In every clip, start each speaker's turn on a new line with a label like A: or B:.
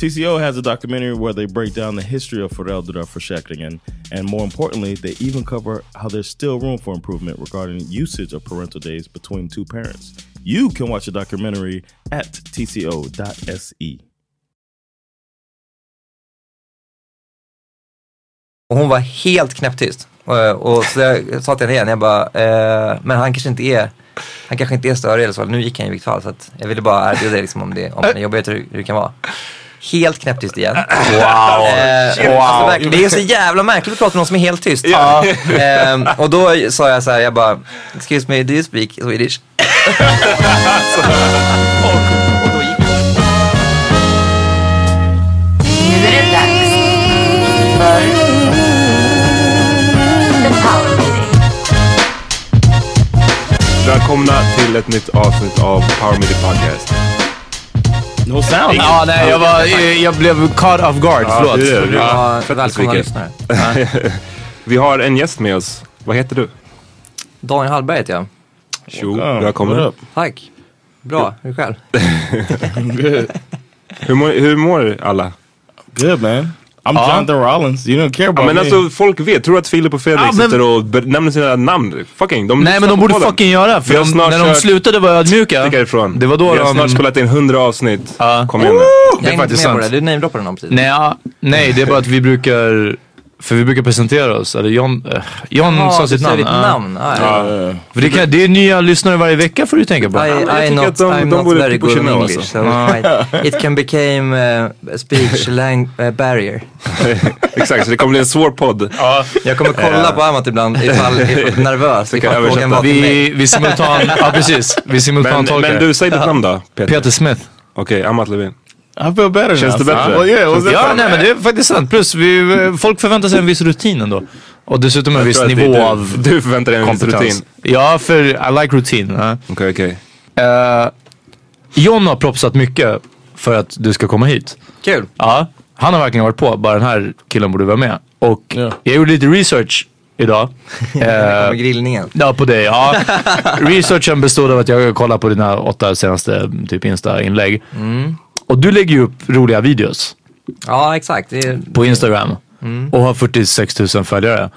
A: TCO has a documentary where they break down the history of föräldraförsäkringen and more importantly, they even cover how there's still room for improvement regarding usage of parental days between two parents. You can watch the documentary at tco.se.
B: Och hon var helt knäpptyst. Eh, Och så jag sa till henne igen, jag bara, eh, men han kanske inte är, han kanske inte är större eller så. Nu gick han i vilket fall, så att jag ville bara erbjuda dig liksom om det, om det är jobbigt hur, hur det kan vara. Helt knäpptyst igen. Wow! Eh, wow. Alltså, verkligen, det är så jävla märkligt att prata med någon som är helt tyst. Ehm, och då sa jag så här, jag bara, excuse me, do you speak Swedish? och, och då gick
C: Nu är det dags för The Power Meeting.
D: Välkomna till ett nytt avsnitt av Power Media Podcast.
A: No sound.
E: Ja, nej, jag, var, eh, jag blev caught off guard.
D: Ja,
E: Förlåt.
D: det är det.
E: Ja,
D: fett
B: välkomna
D: besviken.
B: lyssnare.
D: Vi har en gäst med oss. Vad heter du?
B: Daniel Hallberg heter jag.
D: Tjo,
A: Oh,
D: välkommen.
A: what up?
B: Tack. Bra, hur är det själv?
A: Good.
D: Hur mår, hur mår alla?
A: Good, man. I'm Jonathan Rollins. You don't care about
D: Ja, men
A: me.
D: alltså folk vet, tror att Filip och Fredrik
E: Ja, men-
D: sitter och ber- nämner sina namn. Fucking, de
E: Nej, men de borde
D: podden.
E: fucking göra. För
D: Vi har
E: de,
D: snart
E: när de
D: kört-
E: slutade vara ödmjuka.
D: Stick härifrån.
E: Det var då
D: Vi har
E: de...
D: snart spelat in 100 avsnitt.
E: Ja.
D: Kom igen nu.
B: Jag är inte
E: faktiskt
B: med på
E: sant.
B: det, du namedroppade någon precis.
E: Nej, ja, nej, det är bara att vi brukar... För vi brukar presentera oss. Eller John, eh, John
B: Ja,
E: sa
B: du
E: sitt
B: säger
E: namn.
B: ditt
E: ja.
B: namn. Ja, ja.
A: Uh,
E: För det, kan, det är nya lyssnare varje vecka får du tänka på.
B: I,
D: men jag
B: I
D: tycker
B: not,
D: att de-
B: I'm
D: de
B: not
D: borde typ
A: typ
B: very good in
D: godkänna oss.
B: English,
A: liksom.
B: so I- it can become eh, a speech lang- eh, barrier.
D: Exakt, så det kommer bli en svår podd. Eh.
B: Jag kommer kolla på Amat ibland ifall jag är nervös,
D: kan
B: ifall frågan
D: översätta.
B: var till mig.
E: Vi, vi simultan... ja, precis. Vi
D: Men,
E: simultantolkar.
D: men du, säg ditt namn då, Peter.
E: Peter Smith.
D: Okej, Amat Levin.
A: I feel better
D: Känns
A: now.
D: det bättre?
A: Well, yeah, it was
E: Ja, nej men det är faktiskt sant. Plus, vi, folk förväntar sig en viss rutin ändå. Och dessutom en
D: Jag
E: viss
D: tror att det är
E: nivå
D: du,
E: av
D: Du förväntar dig en viss rutin.
E: kompetens. Ja, för I like rutin. ja.
D: Okej, okej.
E: Eh, John har propsat mycket för att du ska komma hit.
B: Kul.
E: Ja, han har verkligen varit på. Bara den här killen borde vara med. Och
A: Ja.
E: jag gjorde lite research idag.
B: Med
E: Eh,
B: grillningen.
E: Ja, på dig. Ja. Researchen bestod av att jag kollade på dina åtta senaste typ Insta-inlägg. Och du lägger ju upp roliga videos
B: Mm. Ja, exakt. Det är, mm.
E: på Instagram och har 46 000 följare.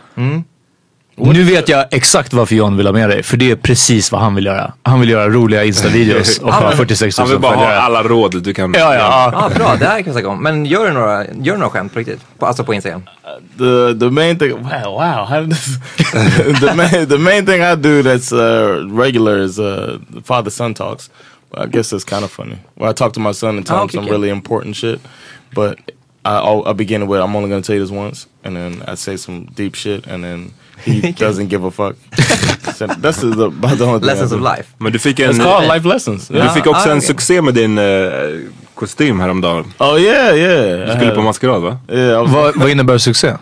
E: Nu vet jag exakt varför John vill ha med dig, för det är precis vad han vill göra. Han vill göra roliga Insta-videos och ha 46 000
D: Han vill bara ha
E: följare.
D: alla råd du kan...
E: Ja, ja, ja.
B: ja, bra. Det här kan vi snacka om. Men gör du några, gör du några skämt på riktigt? På, alltså på Instagram?
A: the the main thing wow wow how this the main the main thing I do that's uh, regular is uh, father son talks. I guess that's kind of funny. Where I talk to my son and tell
B: Oh,
A: him
B: okay,
A: some
B: okay.
A: really important shit, but I I'll- I begin with I'm only gonna tell you this once, and then I say some deep shit, and then he doesn't give a fuck. So that's the, about the only thing. I
B: Lessons
A: do.
B: of life.
D: Men du fick en...
A: It's called life lessons.
D: Du
A: Yeah.
D: fick också
B: ah,
D: en
B: okej.
D: succé med din eh, kostym häromdagen.
A: Oh yeah, yeah.
D: Du
A: I
D: skulle
A: had-
D: på maskerad va?
A: yeah, I was
E: Vad, vad innebär succé?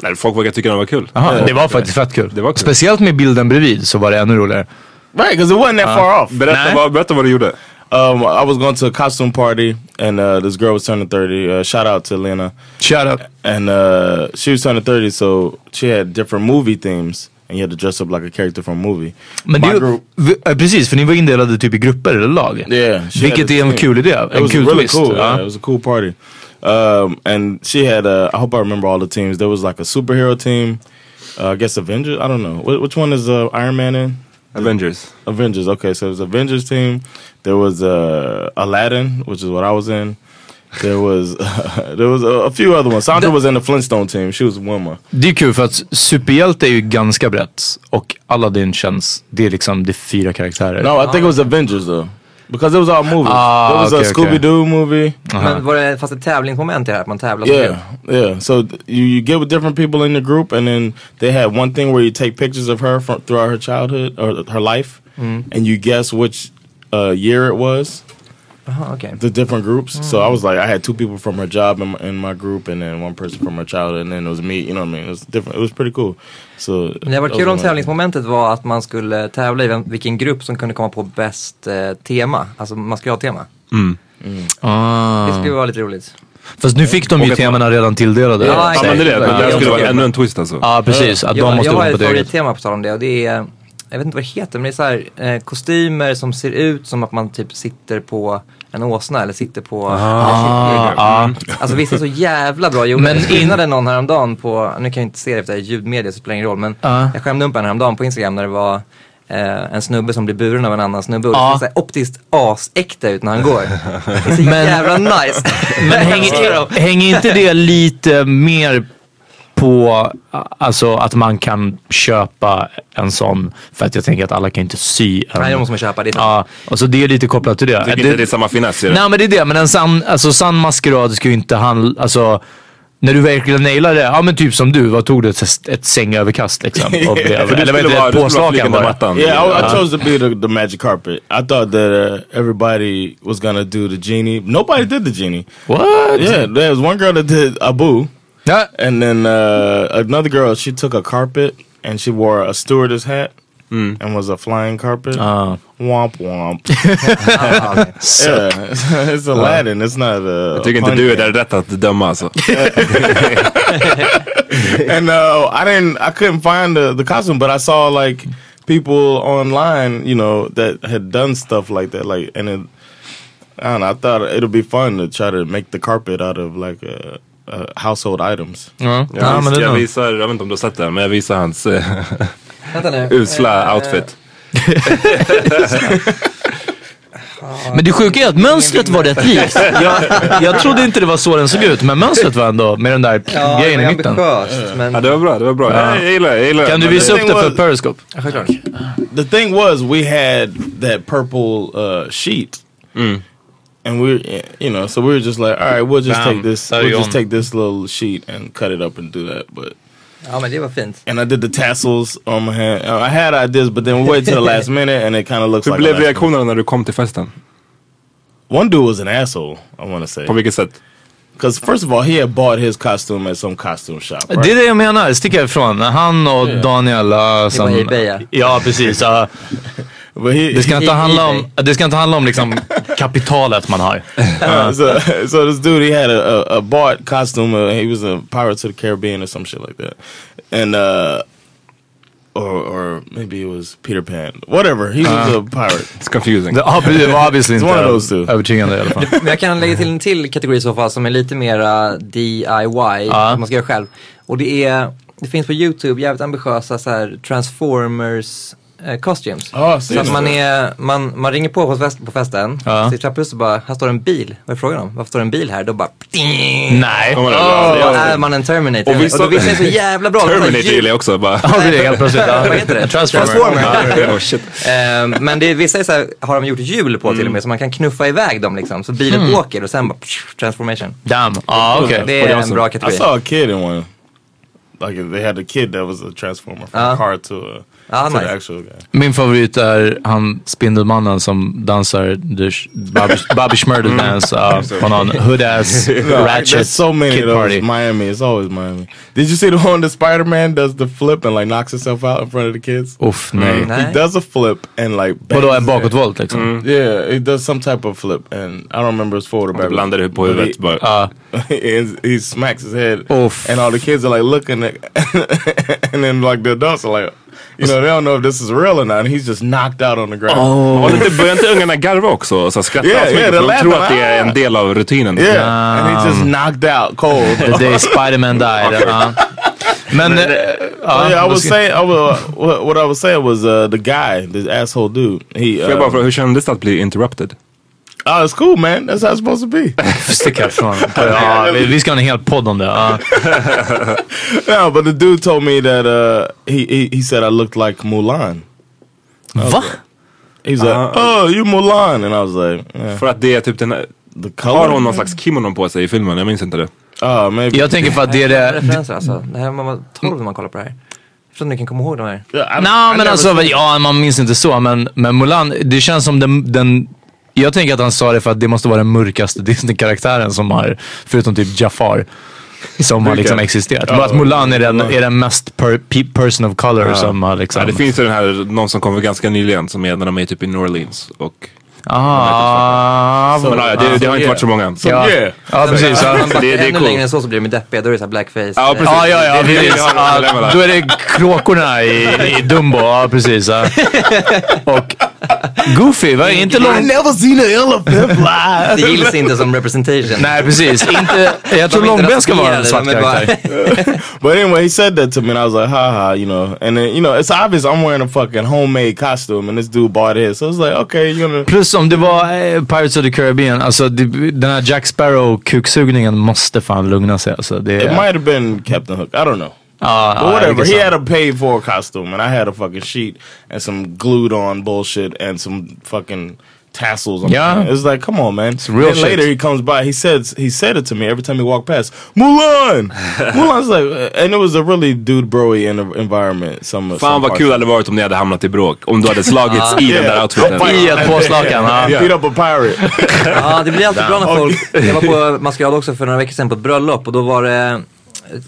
D: Nej, folk verkar tycka den var kul.
E: Aha, det var faktiskt fett kul.
D: Det var kul.
E: Speciellt med bilden bredvid så var det ännu roligare.
A: right because it wasn't that far off.
D: Berätta, vad, berätta vad du gjorde.
A: Um, I was going to a costume party, and uh, this girl was turning thirty. Uh, shout out to Lena,
E: Shoutout.
A: and uh, she was turning thirty, so she had different movie themes, and you had to dress up like a character from a movie.
E: Men det,
A: My
E: är ju-
A: group-
E: v- ja, precis, för ni var indelade typ i grupper eller lag.
A: Yeah, she had
E: Vilket
A: this
E: är en
A: thing.
E: kul idé.
A: It
E: En
A: was
E: kul
A: really
E: twist. Uh-huh.
A: cool. Yeah,
E: ja.
A: it was a cool party. Um, and she had, uh, I hope I remember all the teams. There was like a superhero team. Uh, I guess Avengers. I don't know Wh which one is uh, Iron Man in.
D: Avengers.
A: Avengers. Okay, so it was Avengers team. There was uh, Aladdin, which is what I was in. There was there was a, a few other ones. Sandra was in the Flintstone team. She was Wilma.
E: Det är kul för att superhjälte är ju ganska brett och Aladdin känns, det är liksom, det är fyra karaktärer.
A: No, I think it was Avengers though, because it was all movies.
E: Ah,
A: there was
E: okay,
A: a
E: okay.
A: Scooby Doo movie.
B: Men var det, fast ett tävlingsmoment i det här? Att man tävlar som grupp?
A: Yeah, yeah. So th- you you get with different people in the group, and then they had one thing where you take pictures of her from throughout her childhood or her life, and you guess which uh, year it was.
B: Jaha, okej.
A: the different groups. So I was like, I had two people from her job in my, in my group, and then one person from her childhood, and then it was me. You know what I mean? It was different. It was pretty cool. So
B: Men Det var
A: that
B: kul om
A: was one of-
B: tävlingsmomentet var att man skulle tävla i vem, vilken grupp som kunde komma på bäst eh, tema, alltså maskeradtema.
E: Mm.
A: Mm. Ah.
E: Ah.
B: Det skulle vara lite roligt.
E: Fast nu fick de ju
D: Och att-
E: temana redan tilldelade.
B: Ja,
D: Ja
B: exakt.
D: men det är det, det där skulle vara ännu en twist alltså.
E: Ja, precis. Att de
B: jag,
E: måste
B: jag har
E: komma på
B: ett
E: det eget.
B: favorittema på tal om det och det är, jag vet inte vad det heter, men det är så här, eh, kostymer som ser ut som att man typ sitter på en åsna eller sitter på...
E: Ja,
B: Alltså vissa är så jävla bra gjorda.
E: Ah. Men
B: Men jag
E: in-
B: skinnade någon häromdagen på, nu kan jag inte se det efter ljudmedia så det spelar ingen roll, men
E: Ja.
B: jag skämde upp en häromdagen på Instagram när det var eh, en snubbe som blir buren av en annan snubbe och
E: Ja.
B: det ser så här optiskt asäkta ut när han går. Det är så jävla nice.
E: men hänger, hänger inte det lite mer på alltså, att man kan köpa en sån? För att jag tänker att alla kan inte sy en.
B: Nej, då måste man köpa det.
E: Ja, och så Alltså, det är lite kopplat till det.
D: Jag tycker inte det är samma finess i det.
E: Nej men det är det, men en sann, alltså, sann maskerad ska ju inte handla, alltså när du verkligen nailar det, ja men typ som du, vad tog du? Ett, ett sängöverkast liksom? Och blev,
D: För det
E: eller vad
D: skulle
E: heter
D: vara,
E: det?
D: det skulle vara
E: Påslakan
D: flicken på
E: bara.
D: mattan.
A: Yeah, I, I chose to be the, the magic carpet. I thought that uh, everybody was gonna do the genie. Nobody did the genie.
E: What?
A: Yeah, there was one girl that did Abu,
E: Ja.
A: and then uh, another girl. She took a carpet and she wore a stewardess hat
D: Hmm.
A: and was a flying carpet.
E: Ah.
A: Womp womp.
B: Ja, okej.
A: Yeah, it's Aladdin. It's not. Uh,
D: Jag tycker inte
A: pun
D: du är
A: game.
D: där rätt att döma alltså.
A: and uh, I didn't, I couldn't find the, the costume, but I saw like people online, you know, that had done stuff like that, like, and it, I don't know, I thought it'd be fun to try to make the carpet out of like uh, uh, household items.
E: Ja,
D: Jag
E: ja men
D: vis-
E: det är
D: jag
E: nog.
D: visar, jag vet inte om du har sett den, men jag visar hans eh,
B: Vänta nu.
D: usla
B: Eh,
D: outfit.
A: eh.
E: Men det sjuka är att mönstret var rätt likt. Jag, jag trodde inte det var så den såg ut, men mönstret var ändå med den där
B: Ja,
E: grejen i
B: det var
E: mitten.
B: ambitiöst, men...
D: Ja det var bra, det var bra. Jag gillar det, jag gillar det.
E: Kan du
D: Men
E: visa
D: det-
E: upp det för Periscope?
B: Ja, självklart.
A: The thing was, we had that purple uh, sheet. And we, you know, so we were just like, all right, we'll just
E: Bam.
A: take this,
E: Där är
A: we'll
E: hon.
A: just take this little sheet and cut it up and do that. But
B: Ja, men det var fint.
A: and I did the tassels on my hand. Uh, I had ideas, but then we waited till the last minute, and it kind of looks
D: Hur
A: like a
D: blev
A: last minute.
D: reaktionerna när du kom till festen?
A: one dude was an asshole. I want to say
D: På vilket sätt?
A: because first of all, he had bought his costume at some costume shop. Right?
E: Det är det jag menar, stick härifrån. Han och Daniela
B: var
E: som...
B: Ebay, ja.
E: Ja, precis. ja.
A: but he,
E: Det ska, inte
B: I- i
E: handla om,
B: dig.
E: det ska inte handla om liksom kapitalet man har.
A: Uh, so, so this dude, he had a, a, a Bart costume. Uh, he was a Pirates of the Caribbean or some shit like that, and uh, or or maybe it was Peter Pan. Whatever. He was a pirate.
D: It's confusing.
E: Det obvi- det var obviously
A: It's one of those
E: inte
A: two.
E: övertygande i alla fall.
B: Men jag kan lägga till en till kategori i så fall som är lite mera DIY, som man ska göra själv. Och det är, det finns på YouTube jävligt ambitiösa så här transformers eh, costumes.
A: Ja,
B: så att man, är, man, man ringer på på, fest, på festen,
E: Ja.
B: så i trapphuset bara, här står en bil, vad är frågan om? Varför står det en bil här? Då bara,
E: Nej.
D: Oh,
B: då är man en Terminator.
D: Och
B: Och,
D: vissa-
B: då visste jag så jävla bra.
D: Terminator gillar jag också. Bara.
E: Ja, det är helt plötsligt. Ja.
B: Vad heter det?
E: Transformer.
D: Ja, oh, shit. Mm.
B: Ehm, men det, vissa är så här, har de gjort hjul på till och med så man kan knuffa iväg dem liksom. Så bilen åker och sen bara psh, transformation.
E: Mm. Damn. Ja, okej.
B: Det är en bra
A: Ah, I
B: kategori.
D: Alltså,
A: saw a kid in one. Like they had a kid that was a transformer from
B: Uh.
A: a car to a
B: Ah,
A: to
B: nice.
A: the actual guy.
E: Min favorit är han Spindelmannen som dansar the sh- Bobby, Bobby Schmurder
A: Mm.
E: dance uh, på någon hood-ass ratchet
A: There's so many
E: kid
A: of those.
E: party.
A: Miami. It's always Miami. Did you see the one that Spider Man does the flip and like knocks himself out in front of the kids?
E: Uff, nej.
B: Nej.
A: Mm. He does a flip and like.
E: Vadå,
A: bangs
E: en
A: his head.
E: bakåtvolt liksom?
A: Yeah, he does some type of flip, and I don't remember his forward or
D: Det
A: back.
D: blandade på
A: But
D: huvudet bara.
E: Ja.
A: he, he smacks his head,
E: Ah. Oof.
A: and all the kids are like looking, at, and then like the adults are like, you know, they don't know if this is real or not. And he's just knocked out on the ground.
E: Oh.
D: Och lite, börjar inte ungarna garva också? Och så skrattar
A: Yeah,
D: yeah, så
A: yeah,
D: mycket
A: they're
D: för de tror
A: laughing.
D: att det är en del av rutinen.
A: Yeah, and he just knocked out cold.
E: The day Spider-Man died. uh-huh. ja. Men... eh,
A: Oh, yeah,
E: då
A: I was
E: ska-
A: saying, I was, what, what I was saying was uh, the guy, this asshole dude. He,
D: Får jag bara
A: uh,
D: fråga, hur kändes det att bli interrupted?
A: oh, it's cool, man. That's how it's supposed to be. uh,
E: Stick Oh, härifrån. Ja, vi, vi ska ha en hel podd om det. ja.
A: no, but the dude told me that uh, he, he he said I looked like Mulan.
E: Va?
A: He's
D: Uh,
A: like, oh, you Mulan, and I was like, yeah.
D: För att det är typ den här...
A: the
D: Har hon
A: color.
D: någon slags kimono på sig i filmen? Jag minns inte det.
A: Oh, maybe.
E: Jag tänker för att det är det...
B: Referenser alltså. Det här man var 12 när man kollar på det här. Jag tror inte ni kan komma ihåg de här.
A: Yeah, I- I
E: Nej, men
A: never
E: alltså,
A: seen-
E: ja, man minns inte så. Men, men Mulan, det känns som den, den... Jag tänker att han sa det för att det måste vara den mörkaste Disney-karaktären som har, förutom typ Jafar, som har liksom existerat. Bara att Mulan är den, är den mest per, pe, person of color som har liksom...
D: Ja, det finns ju den här, någon som kom ganska nyligen som är när de är typ i New Orleans. Och,
E: Ah,
D: men ja, det, det har inte varit så många.
E: ja.
A: yeah.
E: ja, precis.
B: Om
E: Ja,
B: man backar
D: det är
B: ännu
D: coolt.
B: längre än så så blir de deppiga. Då är det så här blackface.
D: Ja, precis.
E: ja, ja, ja
D: Det är det
E: precis.
D: jag har problem med
E: Ja,
D: det.
E: då är det kråkorna i, i Dumbo. Ja, precis. Ja. Och Goofy, va? Inte
A: I
E: lång...
A: never seen an elephant
B: Det
A: fly.
B: gills inte som representation.
E: Nej, precis. Inte, jag tror
B: inte
E: Långben ska vara en
B: rasifierade,
E: svart
B: de är bara-
E: karaktär.
A: but anyway, he said that to me, and I was like, ha ha, you know. And then, you know, it's obvious I'm wearing a fucking homemade costume, and this dude bought his. So it's like, okay, you're gonna.
E: Plus om det var eh, Pirates of the Caribbean, alltså det, den här Jack Sparrow-kuksugningen måste fan lugna sig. Alltså, det,
A: It might have been Captain Hook. I don't know.
E: Ja,
A: But
E: ja,
A: whatever.
E: jag
A: He
E: guess
A: had a paid for costume, and I had a fucking sheet and some glued on bullshit and some fucking tassels. On
E: Yeah.
A: it. it's like, come on, man. It's
E: real
A: then
E: shit.
A: later he comes by. He says he said it to me every time he walked past Mulan. Mulan's like, uh, and it was a really dude broy in environment. Some
D: Fan
A: some
D: vad
A: parts
D: kul det
A: of it.
D: hade varit om ni hade hamnat i bråk. Om du hade
E: Uh,
D: slagits i den där outfiten.
E: I ett påslakan. ja.
A: Beat up a pirate.
B: Ja, det blir alltid bra när folk... Jag var på maskerad också för några veckor sedan på ett bröllop och då var det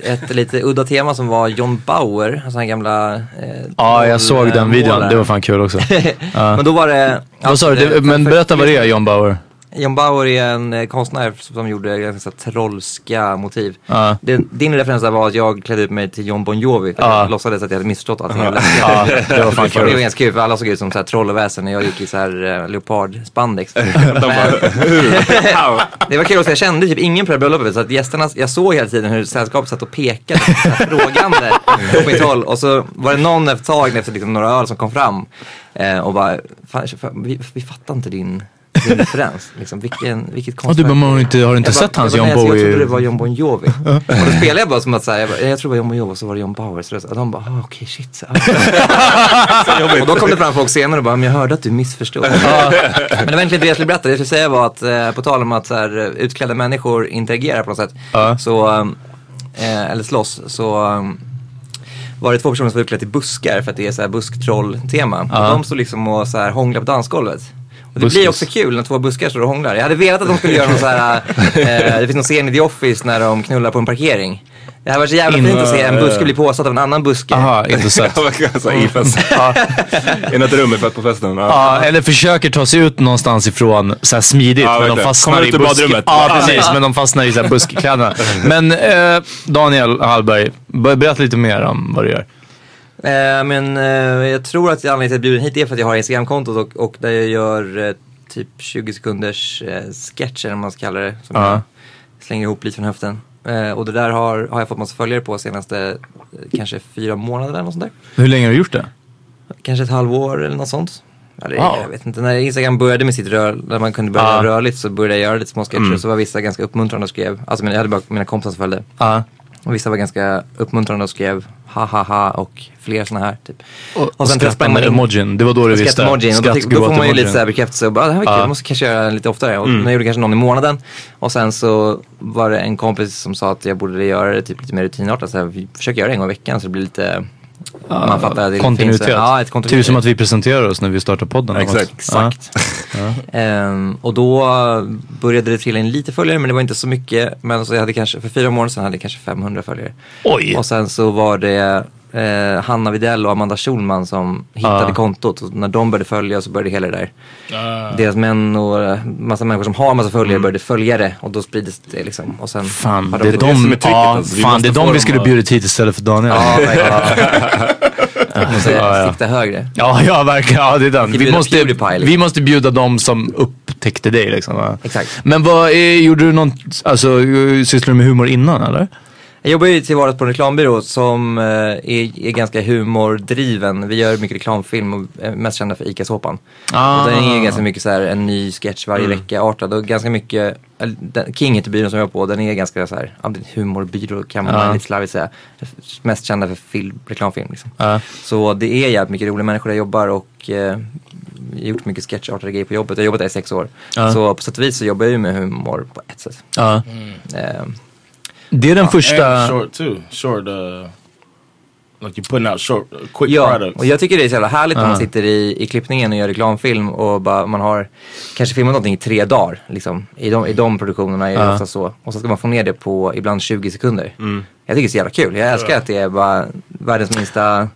B: ett lite udda tema som var John Bauer, alltså den gamla... eh,
E: Ja, jag såg den videon.
B: målaren.
E: Det var fan kul också.
B: Men då var Alltså, det...
E: Vad sa du? Det- Men berätta vad det är, John Bauer.
B: John Bauer är en eh, konstnär som gjorde ganska så här trollska motiv.
E: Ja.
B: Det, din referens där var att jag klädde ut mig till John Bon Jovi. För
E: Ja.
B: Jag låtsades att jag hade missförstått allting. Uh.
E: Ja, det var fan
B: Det var
E: kul.
B: ganska kul för alla såg ut som så här troll och väsen och jag gick i så här eh, leopardspandex.
D: De bara, Wow.
B: Det var kul också, jag kände typ ingen på det här bröllopet så att gästerna, jag såg hela tiden hur sällskapet satt och pekade så här, frågande åt mitt håll och så var det någon efter ett tag efter liksom, några öl som kom fram eh, och bara, fan, fan, vi, vi fattar inte din, din referens. Liksom, vilken, vilket
E: Ja, du
B: konstverk.
E: bara, men har du inte, har du inte
B: Jag bara,
E: sett hans
B: jag bara,
E: John
B: nej, alltså, Jag trodde det
E: Bowie?
B: var John Bon Jovi. och då spelade jag bara som att så här, jag, bara, jag tror det var John Bon Jovi och så var det John Bauers röst. Och de bara, ah, okej shit. Så här. och då kom det fram folk senare och bara, men jag hörde att du missförstod. Ja. men det var egentligen inte det jag skulle berätta. Det jag skulle säga var att eh, på tal om att så här, eh, utklädda människor interagerar på något sätt.
E: Ja.
B: Så, eh, eller slåss, så eh, var det två personer som var utklädda till buskar för att det är så här busktroll-tema. Och de stod liksom och så här hånglade på dansgolvet. Och det blir
E: Buskis.
B: också kul när två buskar står och hånglar. Jag hade velat att de skulle göra någon så här, eh, det finns någon scen i The Office när de knullar på en parkering. Det här var så jävla
E: In-
B: fint att se en buske bli påsatt av en annan buske.
E: eh, Aha, inte sett.
D: Så I fest. I något rum i fest- på festen. Ja.
E: Ja, eller försöker ta sig ut någonstans ifrån så här smidigt,
D: Ja,
E: men de
D: verkligen.
E: fastnar
D: Kommer
E: i
D: ut ur
E: busk...
D: badrummet.
E: Ja,
D: Ja,
E: precis, men de fastnar i så här buskkläderna. Men eh, Daniel Hallberg, ber- berätta lite mer om vad du gör.
B: Eh, men eh, jag tror att anledningen till att jag är bjuden hit är för att jag har Instagramkontot och, och där jag gör eh, typ 20 sekunders eh, sketcher, om man ska kalla det. Som
E: Ja.
B: jag slänger ihop lite från höften. Eh, och det där har, har jag fått massa följare på senaste eh, kanske fyra månader eller något sånt där.
E: Hur länge har du gjort det?
B: kanske ett halvår eller något sånt. Eller,
E: Wow. Ah.
B: Jag vet inte, när Instagram började med sitt rör, när man kunde börja
E: Ja.
B: göra rörligt så började jag göra lite små sketcher.
E: Mm.
B: Så var vissa ganska uppmuntrande och skrev, alltså men jag hade bara mina kompisar som följde.
E: Ja.
B: Och vissa var ganska uppmuntrande och skrev ha ha ha och fler sådana här typ.
E: Och sen
B: testade
E: skrattade emojin, det var då du visste.
B: skrattemojin. Och då, fick, då får man ju lite så här bekräftelse och bara, "Ah, det här var kul,
E: Ja.
B: jag måste kanske göra den lite oftare.
E: Mm.
B: Och Jag gjorde kanske någon i månaden. Och sen så var det en kompis som sa att jag borde göra det typ lite mer rutinartat. Så här, vi försöker göra det en gång i veckan så det blir lite, man fattar att det
E: Ah,
B: finns.
E: kontinuitet.
B: en- Ja, ett kontinuitet.
E: Typ som att vi presenterar oss när vi startar podden. Alltså.
D: Exakt.
B: Exakt.
E: Ja.
B: Ehm, och då började det trilla in lite följare men det var inte så mycket. Men så jag hade kanske, för fyra månader sedan hade jag kanske 500 följare.
E: Oj!
B: Och sen så var det eh, Hanna Videll och Amanda Schulman som hittade
E: Ah.
B: kontot. Och när de började följa så började hela det där. Deras män och eh, massa människor som har massa följare började följa det och då sprids det liksom. Och sen
E: Mm. Fan,
B: har
E: det är
B: fått-
D: som är
E: de,
D: tricket,
E: ja,
D: alltså. Vi
E: fan,
D: måste
E: det är
D: få
E: de vi
D: dem
E: skulle
D: att-
E: bjuda hit istället för Daniel.
B: Ja, verkligen. Så
E: Ja, ja.
B: jag Sikta högre.
E: Ja, ja verkligen. Ja, det är den.
B: Vi
E: Vi
B: bjuder
E: måste,
B: Pewdiepie, liksom.
E: vi måste bjuda dem som upptäckte dig. Liksom. va?
B: Exakt.
E: Men vad, eh, gjorde du någon, alltså, eh, sysslade du med humor innan eller?
B: Jag jobbar ju till vardags på en reklambyrå som eh, är, är ganska humordriven. Vi gör mycket reklamfilm och är mest kända för ICA-såpan.
E: Ah.
B: Och Den är ganska mycket så här en ny sketch varje vecka artad och ganska mycket, eller, den- King heter byrån som jag är på, den är ganska så här, ja, det är en humorbyrå kan man
E: Ja.
B: lite slarvigt säga. Mest kända för film, reklamfilm liksom.
E: Ja.
B: Så det är jävligt mycket roliga människor där jag jobbar och eh, jag har gjort mycket sketchartade grejer på jobbet. Jag har jobbat där i sex år.
E: Ja.
B: Så på sätt och vis så jobbar jag ju med humor på ett sätt.
E: Ja.
B: Eh,
E: Det är den första...
A: And short too. Short uh like you're putting out short uh, quick
B: Ja,
A: products. Uh-huh.
B: och jag tycker det är så jävla härligt när
E: Ja.
B: man sitter i, i klippningen och gör reklamfilm och bara, man har kanske filmat någonting i tre dagar. Liksom. I, de, I de produktionerna är det
E: Ja.
B: ofta så. Och så ska man få ner det på ibland 20 sekunder. Jag tycker det är så jävla kul. Jag älskar att det är bara världens minsta
E: Ja,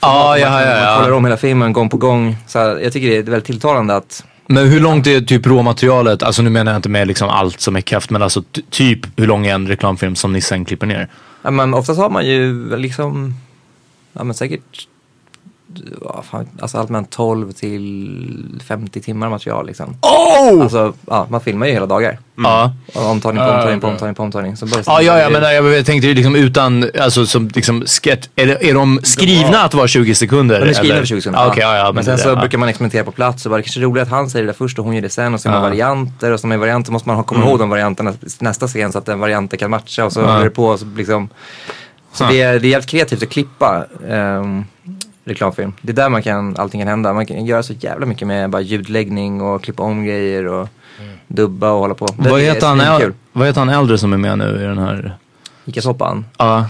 B: format.
E: ja,
B: Man-
E: ja, ja.
B: Man kollar om hela filmen gång på gång. Så jag tycker det är väldigt tilltalande att
E: Men hur långt är typ råmaterialet? Alltså nu menar jag inte med liksom allt som är kraft, men alltså ty- typ hur lång är en reklamfilm som ni sen klipper ner?
B: Ja, men oftast har man ju liksom, ja men säkert, ja, fan, alltså allt mellan 12 till 50 timmar material liksom. Oh! Alltså, ja, man filmar ju hela dagar.
E: Ja.
B: Och Omtagning på
A: Ah,
B: omtagning på
A: okej.
B: omtagning på omtagning. Så bara
E: Ja, ja, ja, men jag, jag tänkte ju liksom utan, alltså som liksom sketch, eller är de skrivna att vara 20 sekunder?
B: Eller skriver
E: eller?
B: över 20 sekunder.
E: Ah, Okej, ja, ja.
B: men sen
E: det-
B: så
E: ja.
B: brukar man experimentera på plats och bara, det kanske är roligt att han säger det där först och hon gör det sen och så är man
E: Ja. Mm.
B: varianter och så med varianter måste man ha- komma ihåg de varianterna s- nästa scen så att den varianten kan matcha och så
E: Ja.
B: håller det på och så liksom. Så
E: Ja.
B: det, är, det är jävligt kreativt att klippa ehm, reklamfilm. Det är där man kan, allting kan hända. Man kan göra så jävla mycket med bara ljudläggning och klippa om grejer och dubba och hålla på. Det
E: Mm. Vad
B: är
E: heter, han, äl-
B: svinkul.
E: vad heter han äldre som är med nu i den här?
B: Ica-soppan.
E: Ja,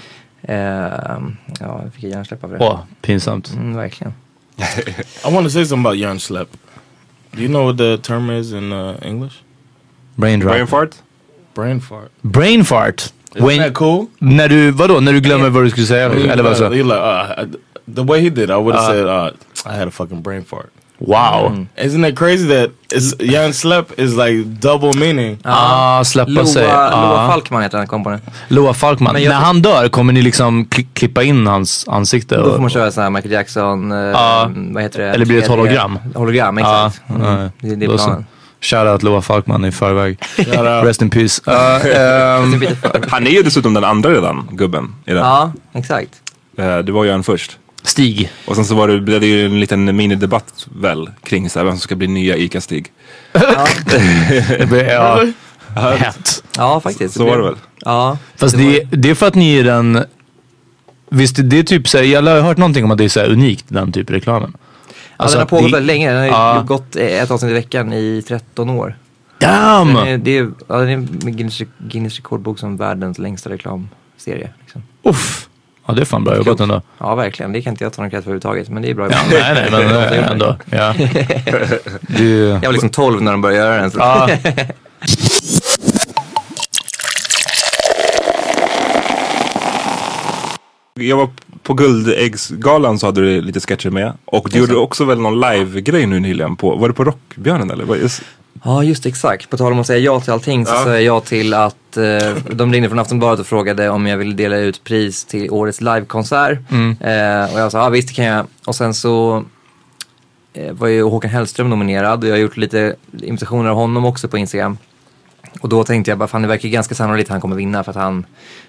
B: Ehm, ja, jag fick hjärnsläpp av det.
E: åh, pinsamt.
B: Mm, verkligen.
A: I want to say something about yarn slap. Do you know what the term is in uh, English?
E: Brain drop.
D: Brain fart?
A: Brain fart.
E: Brain fart.
A: Isn't
E: When-
A: that cool?
E: När du, vadå, när du glömmer vad du skulle säga? Eller vad så?
A: You're like, uh, I- the way he did, I would have said, uh, I had a fucking brain fart. Mm.
E: Wow.
A: Isn't it crazy that it's, Jan Slep is like double meaning?
E: Ah, släppa sig.
B: Loa, Loa
D: Uh-huh.
E: Ah.
B: Falkman heter den komponen.
E: Loa Falkman.
B: Men jag-
E: När han dör, kommer ni liksom kli- klippa in hans ansikte?
B: Då får man
E: och-
B: köra sån här Michael Jackson, eh,
E: Ja.
B: vad heter det?
E: Eller blir det ett hologram?
B: Hologram,
E: Ja,
B: exakt. Mm. Det, det är
E: Då så.
B: planen.
E: Shoutout Loa Falkman i förväg. Rest in peace. Ah, ehm,
D: Han är ju dessutom den andra redan, gubben. I den.
B: Ja, exakt.
D: Eh, Det var ju han först.
E: Stig.
D: Och sen så var det, blev det ju en liten minidebatt väl kring så här, vem som ska bli nya ICA-Stig.
E: Det blir, ja, hett.
B: Ja, faktiskt.
D: Så var det väl?
B: Ja.
E: Fast det, det är för att ni är den... Visst, det är typ såhär, jag har hört någonting om att det är såhär unikt, den typ reklamen.
B: ja, den har
E: att
B: pågått
E: Alltså, det-
B: väldigt länge. Den har ju
E: Ja.
B: gått eh, ett avsnitt i veckan i 13 år. Den
E: Damn!
B: är, det är, ja, den är med Guinness, Guinness rekordbok som världens längsta reklamserie. Liksom.
E: Uff. Ja, det är fan bra jobbat ändå.
B: Ja, verkligen. Det kan inte jag ta någon cred för överhuvudtaget, men det är bra
E: Ja,
B: jobbat.
E: nej, nej, men eh, ändå. Ja. Det är ju...
B: Jag var liksom 12 när de började göra den. Så.
E: Ja.
D: Jag var på Guldäggsgalan så hade du lite sketcher med. Och du gjorde också väl någon live-grej nu nyligen. På, var det på Rockbjörnen eller? Vad-
B: Ja, just det, exakt. På tal om att säga ja till allting så
D: Ja.
B: sa jag ja till att eh, de ringde från Aftonbladet och frågade om jag ville dela ut pris till årets livekonsert.
E: Mm.
B: Eh, och jag sa ja visst det kan jag. Och sen så eh, var ju Håkan Hellström nominerad och jag har gjort lite imitationer av honom också på Instagram. Och då tänkte jag bara fan det verkar ju ganska sannolikt att han kommer vinna för att han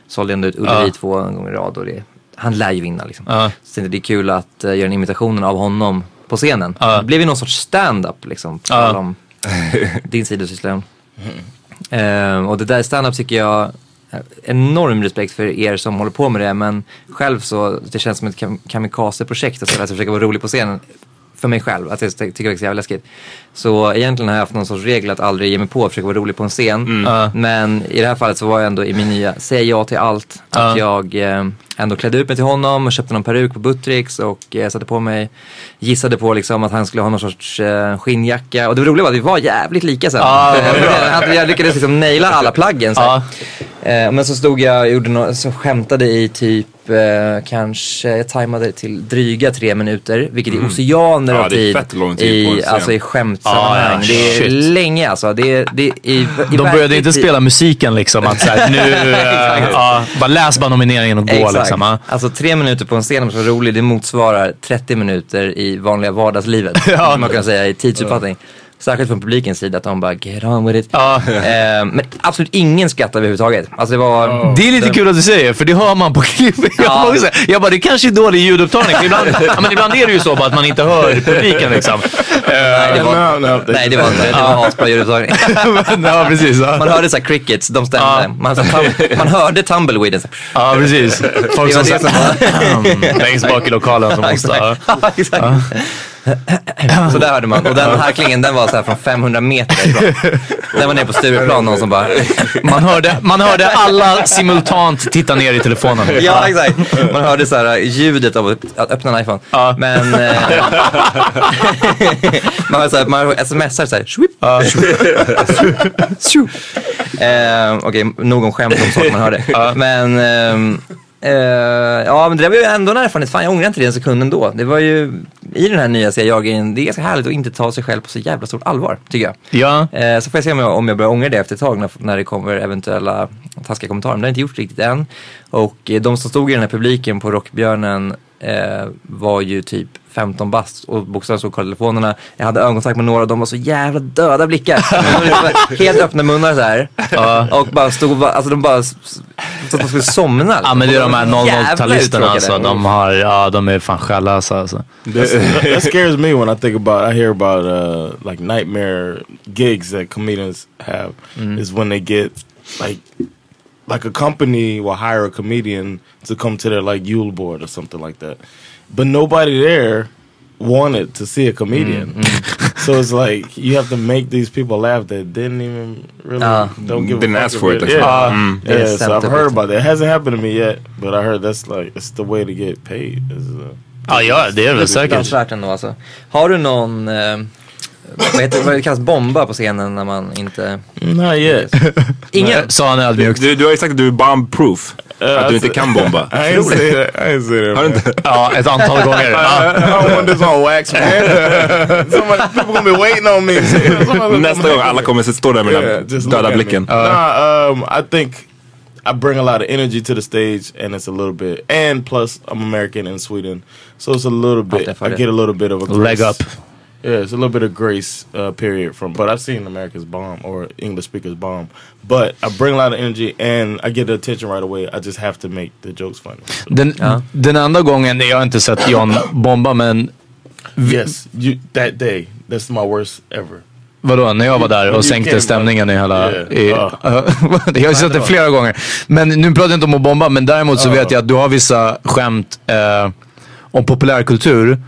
B: sålde ändå ut Ullevi
E: Ja.
B: två gånger i rad och det, han lär ju vinna liksom.
E: Ja.
B: Så tänkte jag, det är kul att eh, göra en imitation av honom på scenen.
E: Ja.
B: Det blev ju någon sorts stand-up liksom. På
E: Ja.
B: tal om din sidosyssla.
A: Mm-hmm.
B: Ehm, och det där stand-up tycker jag, eh, enorm respekt för er som håller på med det. Men själv så, det känns som ett kam- kamikaze-projekt att alltså, försöka vara rolig på scenen. För mig själv, att jag ty- tycker det är så jävla läskigt. Så egentligen har jag haft någon sorts regel att aldrig ge mig på att försöka vara rolig på en scen.
E: Ja.
B: Men i det här fallet så var jag ändå i min nya, säga ja till allt. Att jag eh, ändå klädde ut mig till honom och köpte någon peruk på Buttricks och eh, satte på mig, gissade på liksom att han skulle ha någon sorts eh, skinnjacka. Och det roliga var att vi var jävligt lika sen.
E: Ja, det
B: jag, jag lyckades liksom naila alla plaggen. Så. här. Eh, men så stod jag och gjorde nå- så skämtade i typ eh, kanske, jag tajmade det till dryga tre minuter. Vilket
E: Mm.
B: är oceaner
D: Ja,
B: av
D: det är
B: tid.
D: fett lång tid på en
B: i,
D: scen.
B: alltså i skämtsammanhang.
E: Ja, ja,
B: det är
E: Ah, shit.
B: länge alltså. Det är, det är, i, i
E: De började
B: verklig
E: inte
B: tid.
E: spela musiken liksom. Att så här, nu, eh, ja, bara läs bara nomineringen och gå liksom. ja.
B: Alltså tre minuter på en scen om så rolig, det motsvarar 30 minuter i vanliga vardagslivet.
E: Ja.
B: Som man kan säga i tidsuppfattning. Särskilt från publikens sida att de bara get on with it.
E: Ja.
B: Eh, men absolut ingen skrattade överhuvudtaget. Alltså det var...
E: Det är lite kul att du säger för det hör man på klippet.
B: Ja.
E: Jag, måste säga, jag bara, det kanske är dålig ljudupptagning. För ibland, ja, men ibland är det ju så bara att man inte hör publiken liksom.
B: Nej, det var, nej, det var inte. Det var asbra ljudupptagning.
E: Men, ja, precis.
B: Man
E: Ja,
B: hörde så här crickets, de stämde.
E: Ja.
B: Man, så tam- man hörde tumbleweeden. så här.
E: ja precis. Folk
B: Det
E: som
B: var det
E: satt Mm. längst bak i lokalen som måste... Ja.
B: Exakt.
E: Eh,
B: Så där hörde man. Och den harklingen den var så här från 500 meter ifrån. Den var nere på Stureplan någon som bara
E: Man, hörde, man hörde alla simultant titta ner i telefonen.
B: Ja, exakt. Man hörde så här äh, ljudet av att- att öppna en iPhone.
E: Ja.
B: Men... Eh, man, hör så här, man smsar så här. Shwip,
E: Ja.
B: shwip. Eh, Okej, nog om skämt om saker man hörde. Men... ehm, eh, ja men det där var ju ändå en erfarenhet, fan jag ångrar inte det en sekund ändå. Det var ju i den här nya säga jag grejen det är ganska härligt att inte ta sig själv på så jävla stort allvar tycker jag.
E: Ja.
B: Eh, så får jag se om jag, om jag börjar ångra det efter ett tag när, när det kommer eventuella taskiga kommentarer. Men det har jag inte gjort riktigt än. Och eh, de som stod i den här publiken på Rockbjörnen eh, var ju typ 15 bast och bokstavligen stod och kollade telefonerna. Jag hade ögonkontakt med några och de var så jävla döda blickar. De var liksom Helt öppna munnar så här. Och bara stod och bara, alltså de bara, s- s- så att de skulle somna. liksom.
E: Ja men det är de här
B: Och var jävla
E: 00-talisterna alltså.
B: uttråkade.
E: De, har, ja, de är fan själlösa alltså.
A: that scares me when I think about. I hear about uh, like nightmare gigs that comedians have
D: Mm-hmm.
A: is when they get like like a company will hire a comedian to come to their like Yule board or something like that, but nobody there wanted to see a comedian.
D: Mm-hmm.
A: so it's like you have to make these people laugh that didn't even really
B: Ah.
A: don't give
D: Uh, Didn't
A: a fuck
D: ask for it, Mm.
A: about
D: like,
A: Yeah,
E: ah,
A: yeah.
B: yeah,
A: so I've
B: sent
A: heard
B: it.
A: about that. It hasn't happened to me yet, but I heard that's like it's the way to get paid. Is, uh,
E: Ja, ja det är det väl säkert.
B: Fruktansvärt ändå alltså. Har du någon, eh, vad heter vad det kallas, bomba på scenen när man inte...
A: Not yet.
B: Ingen?
E: Sa han ödmjukt.
D: Du, du har ju sagt att du är bomb-proof. att
A: alltså-
D: du inte kan bomba.
A: I ain't say that. I ain't say that.
D: Har du
A: man.
D: inte?
E: Ja, ett antal gånger. Ja.
A: I don't want this on wax, man. Somebody, people gonna be waiting on me. Somebody-
D: Nästa gång alla kommer att stå där med
E: uh,
A: Yeah,
D: den
A: just look
D: döda
A: at me.
D: blicken.
A: nah, um, I think I bring a lot of energy to the stage, and it's a little bit. And plus, I'm American in Sweden, so it's a little bit.
B: definitely.
A: I get a little bit of a
E: Leg
A: grace.
E: up.
A: Yeah, it's a little bit of grace uh, period from. But I've seen Americans bomb or English speakers bomb. But I bring a lot of energy, and I get the attention right away. I just have to make the jokes funny.
E: Den,
B: Ja.
E: den enda gången jag har inte sett John bomba, men
A: Yes, you that day. That's my worst ever.
E: vadå, när jag var där och
A: You
E: sänkte
A: can't-
E: stämningen i hela...
A: Yeah.
E: I,
A: Ja.
E: jag har sett det flera gånger. Men nu pratar jag inte om att bomba, men däremot så
A: Ja.
E: vet jag att du har vissa skämt eh, om populärkultur.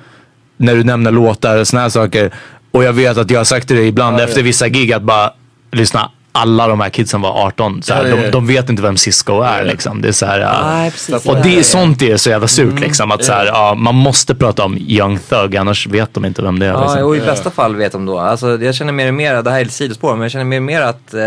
E: När du nämner låtar och såna här saker. Och jag vet att jag har sagt till dig ibland efter vissa gig att bara, lyssna. alla de här kidsen var 18. Så här,
F: Ja, ja, ja.
E: De, de vet inte vem Cisco är liksom. Det är så här, äh,
B: Nej, precis.
E: och det är sånt är så jävla surt liksom. Att så här, ja, man måste prata om Young Thug, annars vet de inte vem det är. liksom.
B: Ja, och i bästa fall vet de då. Alltså, jag känner mer och mer, det här är ett sidospår, men jag känner mer och mer att eh,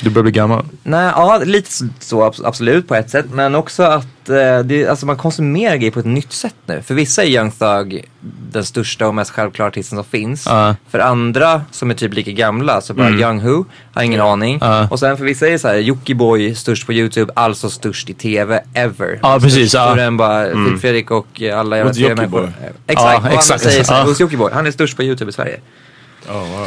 E: Du börjar bli gammal.
B: Nej, ja, lite så- så abs- absolut på ett sätt. Men också att eh, det, alltså man konsumerar grejer på ett nytt sätt nu. För vissa är Young Thug den största och mest självklara artisten som finns.
E: Ja. Mm.
B: För andra som är typ lika gamla, så bara Young Who, har ingen aning.
E: Ja.
B: Och sen för vissa är det så här, Jockiboi, störst på YouTube, alltså störst i TV ever.
E: Ja,
B: Alltså
E: precis, ja.
B: Större än bara
D: Mm.
B: Filip Fredrik och eh, alla jävla
A: Hos
B: TV-människor. Eh,
A: Jockiboi.
B: Exakt,
E: Ja,
B: och han
E: exakt.
B: säger så här,
E: Ja.
B: hos Jockiboi, han är störst på YouTube i Sverige.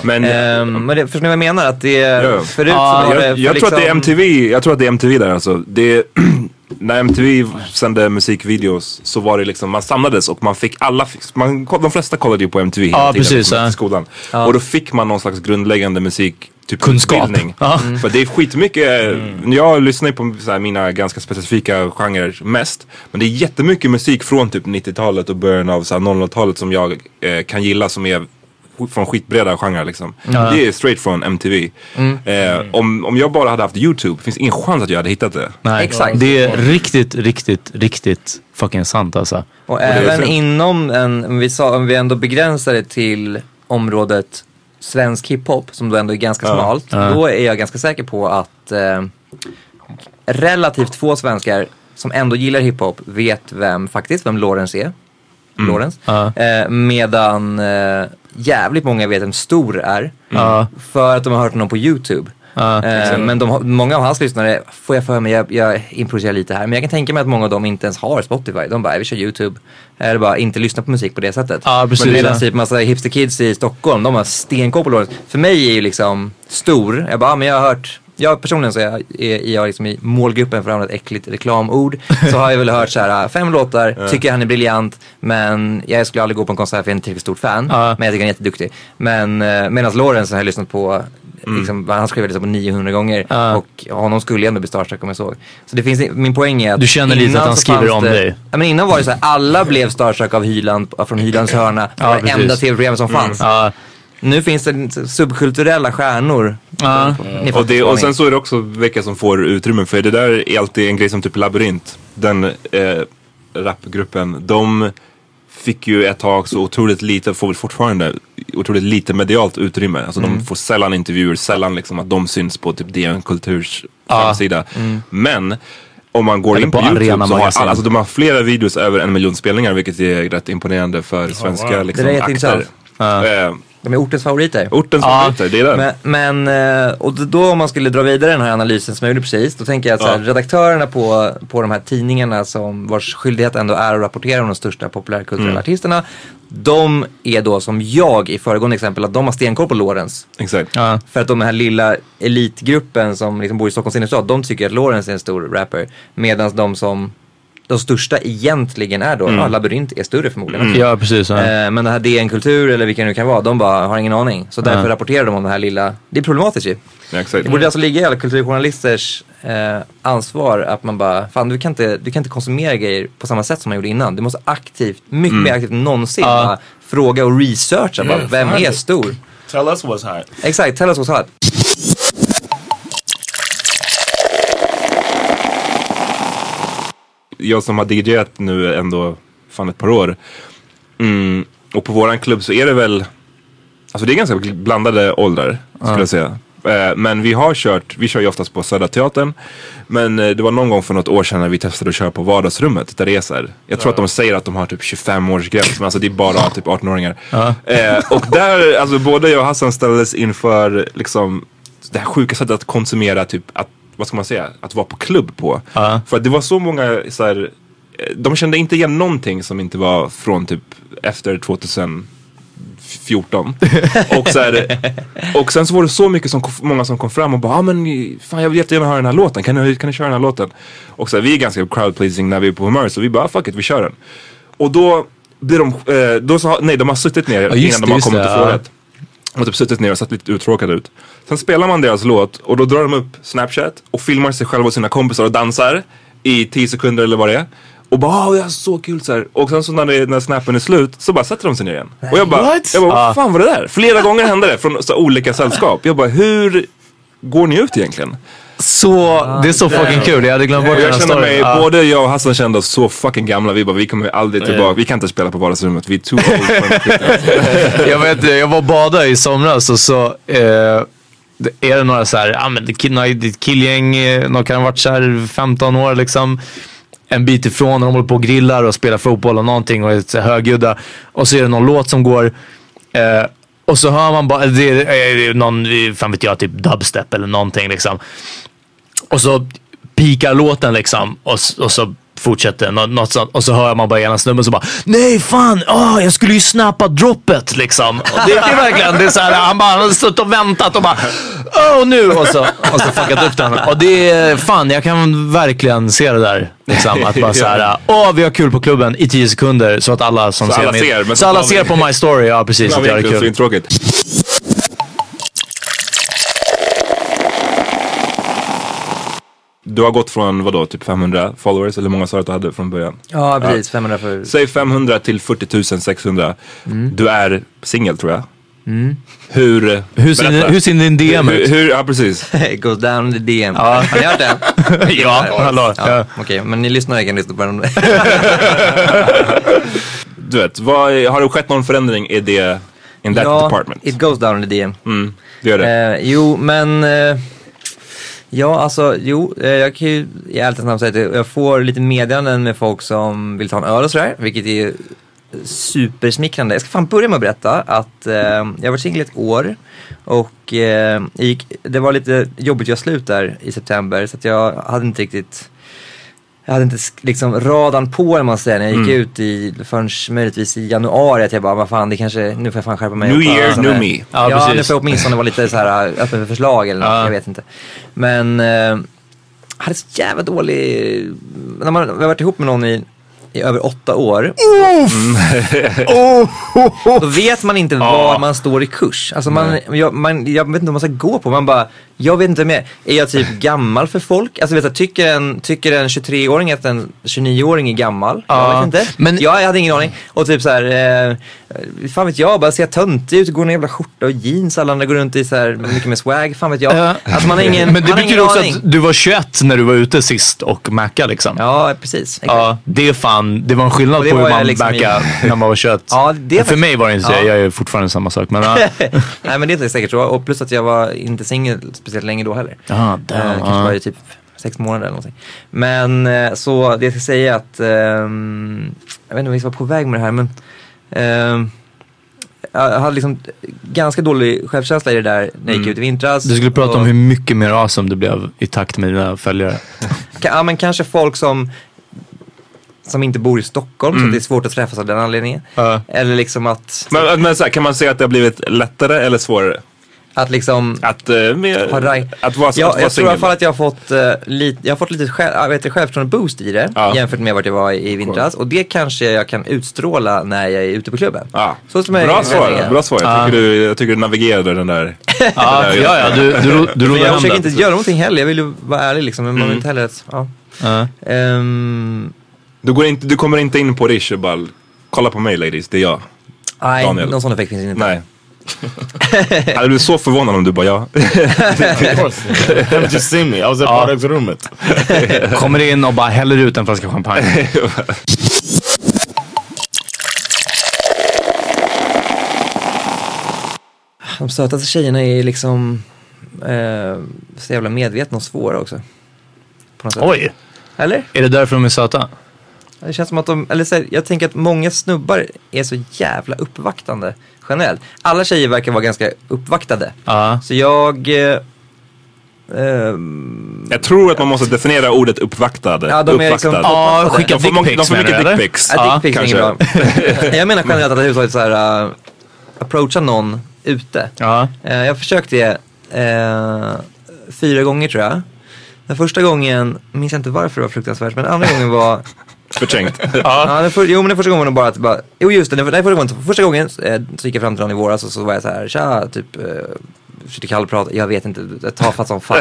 D: Men
B: Ehm, men det, förstår ni vad jag menar? Att det,
D: ja.
B: Eh, förut
E: Ja,
B: så var det
D: jag,
B: för
D: jag tror att det är
B: liksom-
D: MTV, jag tror att det är MTV där alltså. Det är, när MTV sände musikvideos så var det liksom, man samlades och man fick alla, fick- man, de flesta kollade ju på MTV hela
E: Ja,
D: tiden
E: precis,
D: liksom,
E: ja.
D: i skolan. Och då fick man någon slags grundläggande musik Typ
E: Kunskap.
D: utbildning.
E: Ja.
D: För det är skitmycket, mm. jag lyssnar ju på så här, mina ganska specifika genrer mest. Men det är jättemycket musik från typ 90-talet och början av så här 00-talet som jag eh, kan gilla som är från skitbreda genrer liksom. Det är straight från MTV. Eh, om, om jag bara hade haft YouTube, finns ingen chans att jag hade hittat det.
E: Nej. Mm.
B: Exakt.
E: Det är riktigt, riktigt, riktigt fucking sant alltså.
B: Och
D: är
B: även
D: synd.
B: inom en, om vi, sa, om vi ändå begränsar det till området svensk hiphop, som då ändå är ganska smalt, då är jag ganska säker på att eh, relativt få svenskar som ändå gillar hiphop vet vem, faktiskt, vem Lorentz är. Lorentz.
E: Mm. Ja.
B: Eh, medan eh, jävligt många vet vem Stor är.
E: Mm. Ja.
B: För att de har hört honom på YouTube.
E: Ja.
B: Eh, men de, har- många av hans lyssnare, får jag för mig, jag, jag improviserar lite här, men jag kan tänka mig att många av dem inte ens har Spotify. De bara, vi kör YouTube. Eller bara inte lyssnar på musik på det sättet.
E: Ja, precis,
B: men medan
E: ja.
B: typ massa hipsterkids i Stockholm, de har stenkoll på Lorentz. För mig är ju liksom stor, jag bara, ah, men jag har hört jag personligen så är jag, är jag liksom i målgruppen för att använda ett äckligt reklamord. Så har jag väl hört så här, "Ah, fem låtar, tycker han är briljant, men jag skulle aldrig gå på en konsert för jag är inte tillräckligt stort fan.
E: Ja.
B: Men jag tycker han är jätteduktig. Men eh, medan Lorenz har jag lyssnat på, liksom, vad han skrev jag lyssnat på 900 gånger.
E: Mm. Ja.
B: Och honom skulle jag ändå bli starstruck om jag såg. Så det finns, min poäng är att...
E: Du känner lite
B: innan
E: att han
B: så
E: skriver
B: fanns
E: om
B: det,
E: dig.
B: Ja, men innan var det så här, alla blev starstruck av Hyland, från Hylands hörna. Det
E: Ja,
B: var det
E: precis. Mm.
B: enda tv-program som fanns.
E: Ja.
B: Nu finns det subkulturella stjärnor.
E: Ja.
B: Ni
D: Och, det,
B: fattar
D: och
B: vad jag
D: sen så är det också vilka som får utrymme för det där är alltid en grej som typ Labyrint, den eh, rapgruppen, de fick ju ett tag så otroligt lite, får väl fortfarande otroligt lite medialt utrymme. Alltså
B: Mm.
D: de får sällan intervjuer, sällan liksom att de syns på typ DN Kulturs
E: Ja.
D: framsida.
B: Mm.
D: Men om man går
E: Eller
D: in på,
E: på
D: YouTube
E: Arena
D: så har
E: Magasin.
D: alla, alltså de har flera videos över en miljon spelningar vilket är rätt imponerande för svenska liksom,
B: Det där är
D: akter.
B: jätteintressant.
D: Eh,
B: De är ortens favoriter.
D: orten som
E: Ja.
D: ja. det är den.
B: Men, men eh, och då om man skulle dra vidare den här analysen som jag gjorde precis, då tänker jag att så här,
D: Ja.
B: redaktörerna på, på de här tidningarna som, vars skyldighet ändå är att rapportera om de största populärkulturella
D: Mm.
B: artisterna, de är då som jag i föregående exempel, att de har stenkoll på Lorentz.
D: Exakt.
E: Ja.
B: För att de här lilla elitgruppen som liksom bor i Stockholms innerstad, de tycker att Lawrence är en stor rapper. Medan de som, de största egentligen är
D: Mm.
B: då, ja, Labyrint är större förmodligen. också.
E: Mm. Ja, precis. Ja.
B: Eh, Men det här DN-kultur eller vilka det nu kan vara, de bara har ingen aning. Så därför
E: Ja.
B: rapporterar de om det här lilla, det är problematiskt ju.
D: Ja, exakt.
B: Det borde alltså ligga i alla kulturjournalisters eh, ansvar att man bara, fan du kan, inte, du kan inte konsumera grejer på samma sätt som man gjorde innan. Du måste aktivt, mycket mer aktivt än någonsin,
E: Mm. Ja.
B: bara, fråga och researcha, bara,
F: Mm,
B: vem
F: fan.
B: är stor?
F: Tell us what's hot.
B: Exakt, tell us what's hot.
D: jag som har DJat nu ändå fan ett par år. Mm, och på våran klubb så är det väl, alltså det är ganska bl- blandade åldrar skulle jag säga. Eh, Men vi har kört, vi kör ju oftast på Södra Teatern. Men eh, det var någon gång för något år sedan när vi testade att köra på vardagsrummet där det är så här. Jag tror att de säger att de har typ 25 års gräns men alltså det är bara typ 18-åringar. Eh, och där, alltså både jag och Hassan ställdes inför liksom det här sjuka sättet att konsumera typ att vad ska man säga, att vara på klubb på.
E: Ja.
D: För att det var så många så här, eh, de kände inte igen någonting som inte var från typ efter 2014. och, så här, och sen så var det så mycket som, många som kom fram och bara, ah, men fan jag vill jättegärna höra den här låten, kan ni, kan ni köra den här låten? Och så här, vi är ganska crowd pleasing när vi är på humör så vi bara, ah, fuck it, vi kör den. Och då blir de, eh, då sa, nej de har suttit ner
E: Ja, just
D: innan
E: det,
D: de har
E: just
D: kommit
E: det,
D: till
E: ja.
D: förrätt. Och typ suttit ner och sett lite uttråkade ut. Sen spelar man deras låt och då drar de upp Snapchat och filmar sig själva och sina kompisar och dansar i 10 sekunder eller vad det är. Och bara åh, jag har så kul så här. Och sen så när, det, när snappen är slut så bara sätter de sig ner igen. Och jag bara,
F: What?
E: Ah.
D: jag bara vad fan var det där? Flera gånger hände det från så, olika sällskap. Jag bara, hur går ni ut egentligen?
E: Så, det är så fucking kul. Jag hade glömt bort den
D: Ah, Jag
E: här
D: känner mig,
E: storyn. Ah. Ja.
D: både jag och Hassan kände oss så fucking gamla. Vi bara, vi kommer aldrig tillbaka. Vi kan inte spela på vardagsrummet. Vi är too old for the shit.
E: jag vet det, jag var och badade i somras och så eh, det- är det några så här, ja men det kill- några- det är ett killgäng, eh, någon kan ha varit så här 15 år liksom. En bit ifrån, och de håller på och grillar och spelar fotboll och någonting och är så här högljudda. Och så är det någon låt som går. Eh, och så hör man bara, det är, det är någon, fan vet jag, typ dubstep eller någonting liksom. Och så pikar låten liksom och, s- och så fortsätter den. Nå- något sånt. Och så hör man bara ena snubben som bara Nej fan, åh, jag skulle ju snappa droppet liksom. Och Det är verkligen, det är så här, han bara han har stått och väntat och bara Åh nu! Och så, och så fuckat upp den. Och det är fan, jag kan verkligen se det där. Liksom, att bara så här, åh vi har kul på klubben i tio sekunder så att alla som
D: Så
E: ser,
D: alla
E: min-
D: ser, men
E: så
D: så
E: alla
D: plan-
E: ser på My Story, ja precis, att jag har
D: Det är
E: kul.
D: tråkigt. Du har gått från vadå, typ 500 followers eller hur många sa du att du hade från början?
B: Ja, precis. 500 för... Mm.
D: Säg 500 till 40 600.
E: Mm.
D: Du är singel tror jag. Hur?
E: Hur ser, din-
D: berätta.
E: hur ser din DM
D: hur,
E: ut?
D: hur, Ja precis.
B: It goes down the DM. Har ni hört den?
E: Ja, hallå.
B: Ja, Okej, men ni lyssnar kan lyssna på den.
D: Du vet, vad, är- har det skett någon förändring i det, in that department?
B: it goes down the DM.
D: Mm, det gör det.
B: Eh, jo, men... Eh, ja, alltså, jo, eh, jag kan ju i ärlighetens namn säga att jag får lite meddelanden med folk som vill ta en öl och sådär, vilket är ju supersmickrande. Jag ska fan börja med att berätta att eh, jag har varit singel ett år och eh, jag gick, det var lite jobbigt att göra slut där i september så att jag hade inte riktigt jag hade inte sk- liksom radan på eller man säger när jag gick
D: Mm.
B: ut i, förrän möjligtvis i januari att jag bara, vad fan det kanske, nu får jag fan skärpa mig.
D: New
B: och ta
D: year,
B: sån
D: new
B: här-
D: me.
E: Ja,
B: Ja,
E: precis.
B: nu får jag åtminstone vara lite så här äh, öppen för förslag eller något,
E: Ja.
B: jag vet inte. Men eh, hade så jävla dålig, när man har varit ihop med någon i, i över åtta år. Mm. Då vet man inte var man står i kurs. Alltså man, jag, man, jag vet inte vad man ska gå på. Man bara, jag vet inte vem jag är. Är jag typ gammal för folk? Alltså vet du, tycker en, tycker en 23-åring att en 29-åring är gammal?
E: Ja,
B: Jag vet inte.
E: men-
B: jag, jag hade ingen aning. Och typ så här, eh, fan vet jag, bara ser jag töntig ut, går i en jävla skjorta och jeans. Alla andra går runt i så här, mycket mer swag, fan vet jag.
E: Ja.
B: Alltså man har ingen,
E: Men det
B: man har ingen
E: betyder också
B: aning.
E: att du var 21 när du var ute sist och macka liksom. Ja.
B: Ja, precis. Exakt.
E: det är fan, det var en skillnad
B: Och
E: på
B: det
E: hur
B: var jag
E: man
B: liksom
E: backade när man var 21.
B: Ja, det är
E: För
B: faktiskt-
E: mig var det inte så,
B: Ja.
E: jag är fortfarande samma sak. Men, eh, ja.
B: Nej men det är säkert så. Och plus att jag var inte singel speciellt länge då heller.
E: Ah, damn,
B: Eh,
E: ah.
B: Kanske var det typ sex månader eller någonting. Men eh, så det jag ska säga är att, ehm, jag vet inte om vi ska vara på väg med det här men ehm, jag hade liksom ganska dålig självkänsla i det där när jag gick ut i vintras.
E: Mm. du skulle prata
B: Och-
E: om hur mycket mer awesome du blev i takt med dina följare.
B: Ka- Ja men kanske folk som som inte bor i Stockholm så att det är svårt att träffas av den anledningen.
E: Mm. Ja.
B: Eller liksom att,
D: Men, men så här, kan man säga att det har blivit lättare eller svårare?
B: att liksom
D: Att, eh, med,
B: Har raj-
D: att vara, att
B: ja,
D: vara
B: jag tror i alla
D: singel?
B: fall att jag har fått, eh, lite, jag har fått lite själv, äh, vet du, självförtroende-boost i det
D: Ja.
B: jämfört med vart jag var i i vintras. Och det kanske jag kan utstråla när jag är ute på klubben.
D: Ja.
B: Så som jag
D: Bra
B: jag
D: svar,
B: tänker.
D: bra svar. Jag tycker, du, jag tycker du navigerade den där.
E: ja, ja, ja, du, du, ro- du
B: Men
E: rodde
B: jag
E: hem
B: försöker
E: den.
B: inte göra någonting heller, jag vill ju vara ärlig liksom. Men
D: Mm.
B: man vill inte heller att, ja.
E: Ja.
B: Ehm,
D: Du, går inte, du kommer inte in på Rish och bara, kolla på mig ladies, det är jag.
B: nej,
D: Daniel.
B: någon sån effekt finns inte.
D: Nej. Jag hade blivit så förvånad om du bara ja.
A: Of course. You haven't just seen me. I was at
E: Ja.
A: Bardag's room.
E: uh, Kommer in och bara häller ut en flaska champagne.
B: De sötaste tjejerna är liksom eh, så jävla medvetna och svåra också. På något sätt.
E: Oj,
B: Eller?
E: är det därför de är söta?
B: Det känns som att de, eller så här, jag tänker att många snubbar är så jävla uppvaktande generellt. Alla tjejer verkar vara ganska uppvaktade.
E: Ja.
B: Så jag, eh, eh,
D: Jag tror att man måste definiera ordet uppvaktade.
B: Ja, de är liksom-
D: Uppvaktad.
B: Ja,
E: Ja,
B: de
E: skicka
D: de får, många- de
E: dickpics
D: får
E: menar du
D: mycket
E: eller?
D: dickpics.
B: ja, dickpics är inget
D: kanske.
B: bra. jag menar generellt att överhuvudtaget så här, eh, approacha någon ute.
E: Ja.
B: Eh, jag har försökt det eh, fyra gånger tror jag. Den första gången, minns jag inte varför det var fruktansvärt, men den andra gången var
D: Förträngt.
B: Ja. den för, jo men den första gången var det bara att, bara, jo just det, den, för, nej, första gången, första gången eh, så gick jag fram till någon i våras och så var jag så här, tja, typ eh, försökte kallprata, jag vet inte, jag tafatt som fan.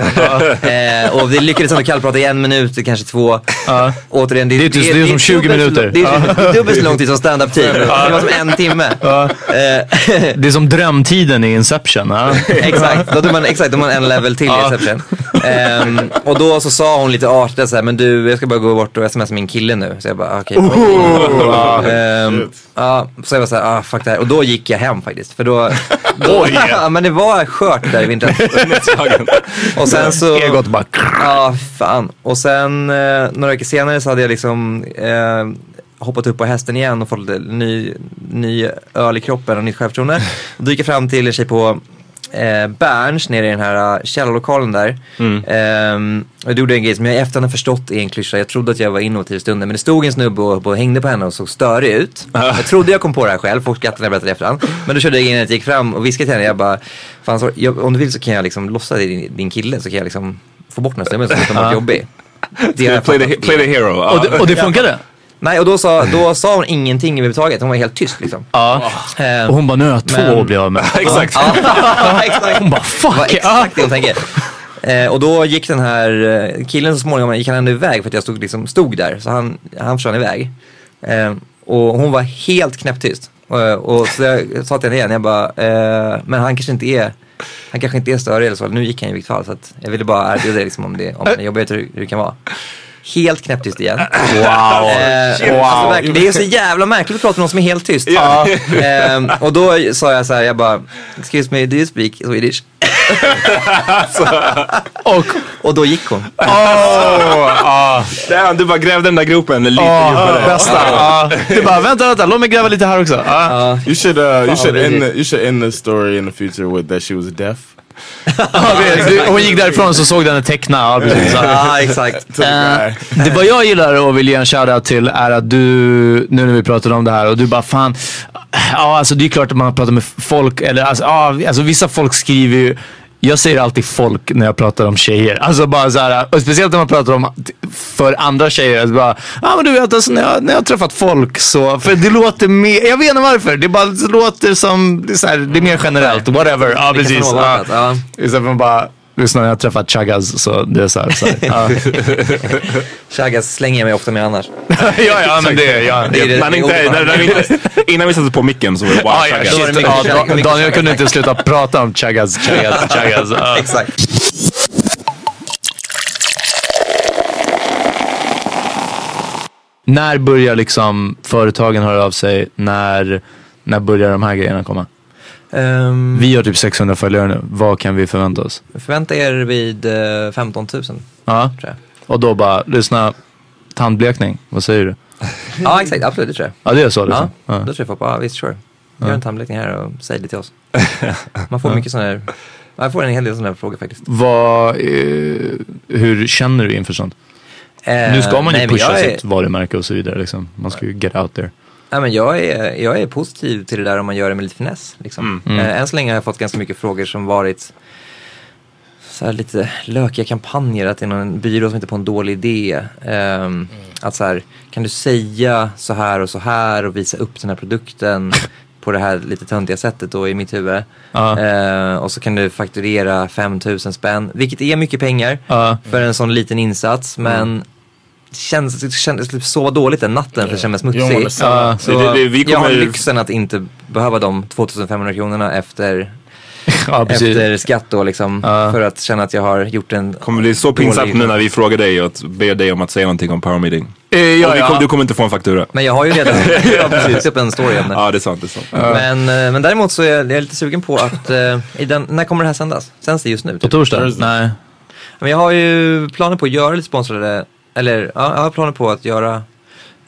B: eh, och vi lyckades ändå kallprata i en minut, kanske två. Återigen, det,
E: Det är tyst, det är som 20
B: dubbelt så
E: minuter.
B: lång- Det är, det är dubbelt så lång tid som stand-up-tid. Typ. Det var som en timme. Eh,
E: Det är som drömtiden i Inception. Ja.
B: exakt, då tog man, exakt, då tog man en level till i
E: Ja.
B: Exception. Ehm, och då så sa hon lite artigt så här, men du jag ska bara gå bort och smsa min kille nu. Så jag bara, "Ah, okej. Ehm, ja, så jag var så här, ah fuck det här. Och då gick jag hem faktiskt. För då, då ja, men det var skört där i vintras. och sen så,
E: Egot bara... krr.
B: ja fan. Och sen eh, några veckor senare så hade jag liksom eh, hoppat upp på hästen igen och fått lite ny, ny öl i kroppen och nytt självförtroende. Och då gick jag fram till en tjej på eh, Berns nere i den här eh, källarlokalen där.
E: Mm.
B: Ehm, och jag gjorde en grej som jag i efterhand har förstått är en klyscha. Jag trodde att jag var innovativ i stunden men det stod en snubbe och, och hängde på henne och såg störig ut. Jag trodde jag kom på det här själv, folk skrattade när jag berättade i efterhand. Men då körde jag in och gick fram och viskade till henne. Jag bara, Fan, så, jag, om du vill så kan jag liksom låtsas din, din kille så kan jag liksom få bort den här snubben som är varit jobbig. Det har jag
D: Play the,
B: fattat.
D: play the hero.
E: Och det, och det funkade?
B: Nej, och då sa, då sa hon ingenting överhuvudtaget. Hon var helt tyst liksom.
E: Ja.
B: Ehm,
E: Och hon bara, nu har jag
B: Men-
E: två att bli av med.
D: Exakt.
B: Ja, exakt.
E: Hon bara,
B: Det var
E: fuck! ja.
B: exakt det hon tänker. Eh, och då gick den här eh, killen så småningom, gick han ändå iväg för att jag stod, liksom, stod där. Så han, han försvann iväg. Eh, och hon var helt knäpptyst. Eh, och så jag sa till henne igen, jag bara, eh, men han kanske inte är han kanske inte är större eller så. Nu gick han i vilket fall. Så att jag ville bara erbjuda dig liksom om det, om det jobbigt hur, hur det kan vara. Helt knäpptyst igen. Wow. Eh, wow. Alltså, verkligen, det är så jävla märkligt att prata med någon som är helt tyst. Ehm, och då sa jag så här, jag bara, excuse me, do you speak Swedish?
E: Och,
B: Och då gick hon.
D: Damn, du bara grävde den där gropen lite
E: ja,
D: djupare.
E: bästa. Ja. Du bara, vänta, vänta, låt mig gräva lite här också. Ja.
A: You should uh, you should
B: vad
A: end
B: det-
A: the, you should end the story in the future with that she was deaf.
E: Ja, du- Hon gick därifrån så såg du henne teckna. Ja, precis. Ja.
B: Ja, exakt.
E: Eh, det vad jag gillar och vill ge en shoutout till är att du, nu när vi pratade om det här och du bara fan, ja alltså det är klart att man pratar med folk, eller alltså, ja, alltså vissa folk skriver ju jag säger alltid folk när jag pratar om tjejer. Alltså bara så här, och speciellt när man pratar om t- för andra tjejer. Alltså bara, ah, men du vet, alltså, när, jag, när jag har träffat folk så, för det låter mer, jag vet inte varför, det bara låter som, det är, så här, det är mer generellt, whatever. Ja,
B: kan
E: precis.
B: vara något
E: Ja.
B: annat,
E: Istället för att man bara, lyssna när jag har träffat chaggas så det är så här. Så här. Ja.
B: Chagas slänger jag mig ofta med annars.
E: ja, ja, men det, ja.
B: Det är det-
D: Men
B: det är
D: inte, när,
B: obegripligt.
D: när vi inte, innan vi satte på micken så var det bara
E: Ah, ja,
D: taggat.
B: Då var det
E: shit.
B: mycket
E: Ja,
B: kärlek,
E: Dan-
B: mycket
E: Daniel
B: kärlek.
E: kunde inte sluta prata om chaggas, chaggas, chaggas. Ja.
B: Exakt.
E: När börjar liksom företagen höra av sig? När, när börjar de här grejerna komma?
B: Ehm,
E: Vi har typ 600 följare nu. Vad kan vi förvänta oss?
B: förvänta er vid eh, 15 000 tror
E: Ja.
B: jag.
E: Och då bara, lyssna. Tandblekning, vad säger du?
B: Ja, exakt. Absolut, det tror jag.
E: Ja, det är så
B: Ja,
E: liksom. Ja.
B: då tror jag folk bara, ah, visst sure. Gör en tandblekning här och säg det till oss. Man får mycket sådana här, man får en hel del sådana här frågor faktiskt.
E: Vad, eh, hur känner du inför sånt? Nu ska man
B: Ehm,
E: ju
B: nej, men
E: pusha
B: jag är-
E: sitt varumärke och så vidare. Liksom. Man ska ju get out there.
B: Ja, men jag, är, jag är positiv till det där om man gör det med lite finess. Liksom.
E: Mm.
B: Eh, Än så länge har jag fått ganska mycket frågor som varit så här lite lökiga kampanjer, att det är någon byrå som hittar på en dålig idé. Ehm,
E: Mm.
B: Att så här, kan du säga så här och så här och visa upp den här produkten på det här lite töntiga sättet då i mitt huvud.
E: Ja.
B: Eh, och så kan du fakturera 5 000 spänn, vilket är mycket pengar
E: Ja. Mm.
B: för en sån liten insats. Men det kändes, det kändes typ så dåligt den natten för det kändes smutsig.
E: Ja.
B: Så
D: Det- det- vi
B: jag har
D: kommer-
B: lyxen att inte behöva de 2500 kronorna efter,
E: Ja, precis.
B: efter skatt då liksom.
E: Ja.
B: För att känna att jag har gjort en...
D: Kommer bli så pinsamt
B: dålig-
D: nu när vi frågar dig och att- ber dig om att säga någonting om power meeting.
E: Eh,
D: Och
E: ja,
D: vi kom,
E: ja.
D: du kommer inte få en faktura.
B: Men jag har ju redan lagt upp en story om det.
D: Ja, det är sant. Det är sant.
B: Men, eh, men däremot så är jag, jag är lite sugen på att, eh, i den, när kommer det här sändas? Sänds det just nu?
E: På
B: Typ.
E: torsdag? Nej.
B: Men jag har ju planer på att göra lite sponsrade, eller ja, jag har planer på att göra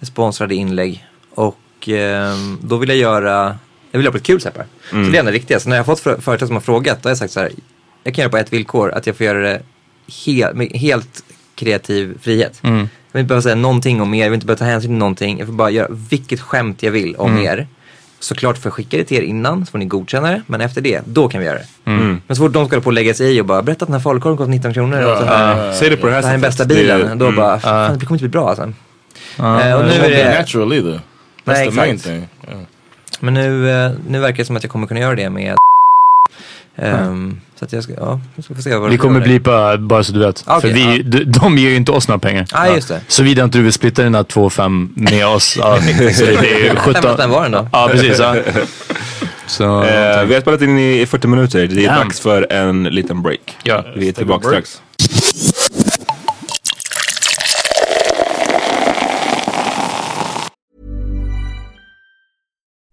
B: sponsrade inlägg. Och eh, då vill jag göra, jag vill göra på ett kul sätt bara. Så det är det riktiga. Så när jag har fått för- företag som har frågat, då har jag sagt så här, jag kan göra på ett villkor, att jag får göra det he- med helt kreativ frihet. Jag vill inte behöva säga någonting om er, jag vill inte behöva ta hänsyn till någonting. Jag får bara göra vilket skämt jag vill om er. Såklart får jag skicka det till er innan, så får ni godkänna det. Men efter det, då kan vi göra det. Men så fort de ska hålla på och lägga sig i och bara, berätta att den här falukorven kostar 19 kronor. och så här,
D: Säg det på det här
B: det här är den bästa bilen. Då bara, fan, det kommer inte bli bra alltså.
E: Uh,
B: Eh, och nu
A: It
B: är
A: won't be
B: det,
A: natural either. That's
B: nej,
A: the main
B: exakt.
A: thing.
B: Men nu, eh, nu verkar det som att jag kommer kunna göra det med Ehm, så att jag ska, ja, jag ska få se vad
E: Vi
B: de
E: kommer
B: gör där.
E: blipa bara så du vet.
B: Okej,
E: För vi,
B: ja.
E: de, de ger ju inte oss några pengar.
B: Ah, just det.
E: Såvida inte du vill splitta dina 2,5 med oss. Ja, så det är ju
B: 15
E: 17.
B: spänn var den då.
E: Ja, precis. Ja. Så,
D: Eh, vi har spelat in i 40 minuter. Det är
E: Damn.
D: dags för en liten break.
E: Ja.
D: Vi är tillbaka
A: break.
D: strax.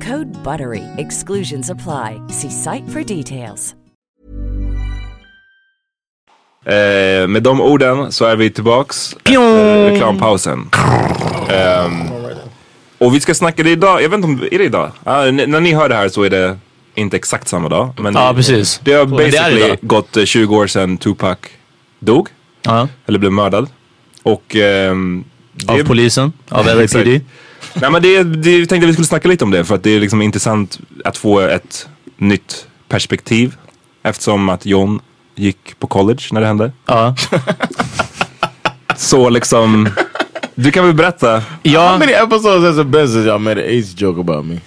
G: Code BUTTERY. Exclusions apply. See site for details.
D: Eh, med de orden så är vi tillbaks
G: Eh,
D: efter reklampausen. Ehm, och vi ska snacka det idag, jag vet inte om, är det idag? Ah, n- när ni hör det här så är det inte exakt samma dag. Men
E: Ja,
D: det,
E: precis.
D: Det har
E: Men det är
D: basically
E: idag.
D: gått eh, 20 år sedan Tupac dog,
E: ja.
D: eller blev mördad. Och... ehm, det
E: Av polisen, av LAPD.
D: Exakt. Nej men det, det jag tänkte att vi skulle snacka lite om det för att det är liksom intressant att få ett nytt perspektiv. Eftersom att John gick på college när det hände.
E: Ja.
D: Så liksom, du kan väl berätta.
A: How
E: Ja,
A: many episodes as a business y'all made an AIDS joke about me?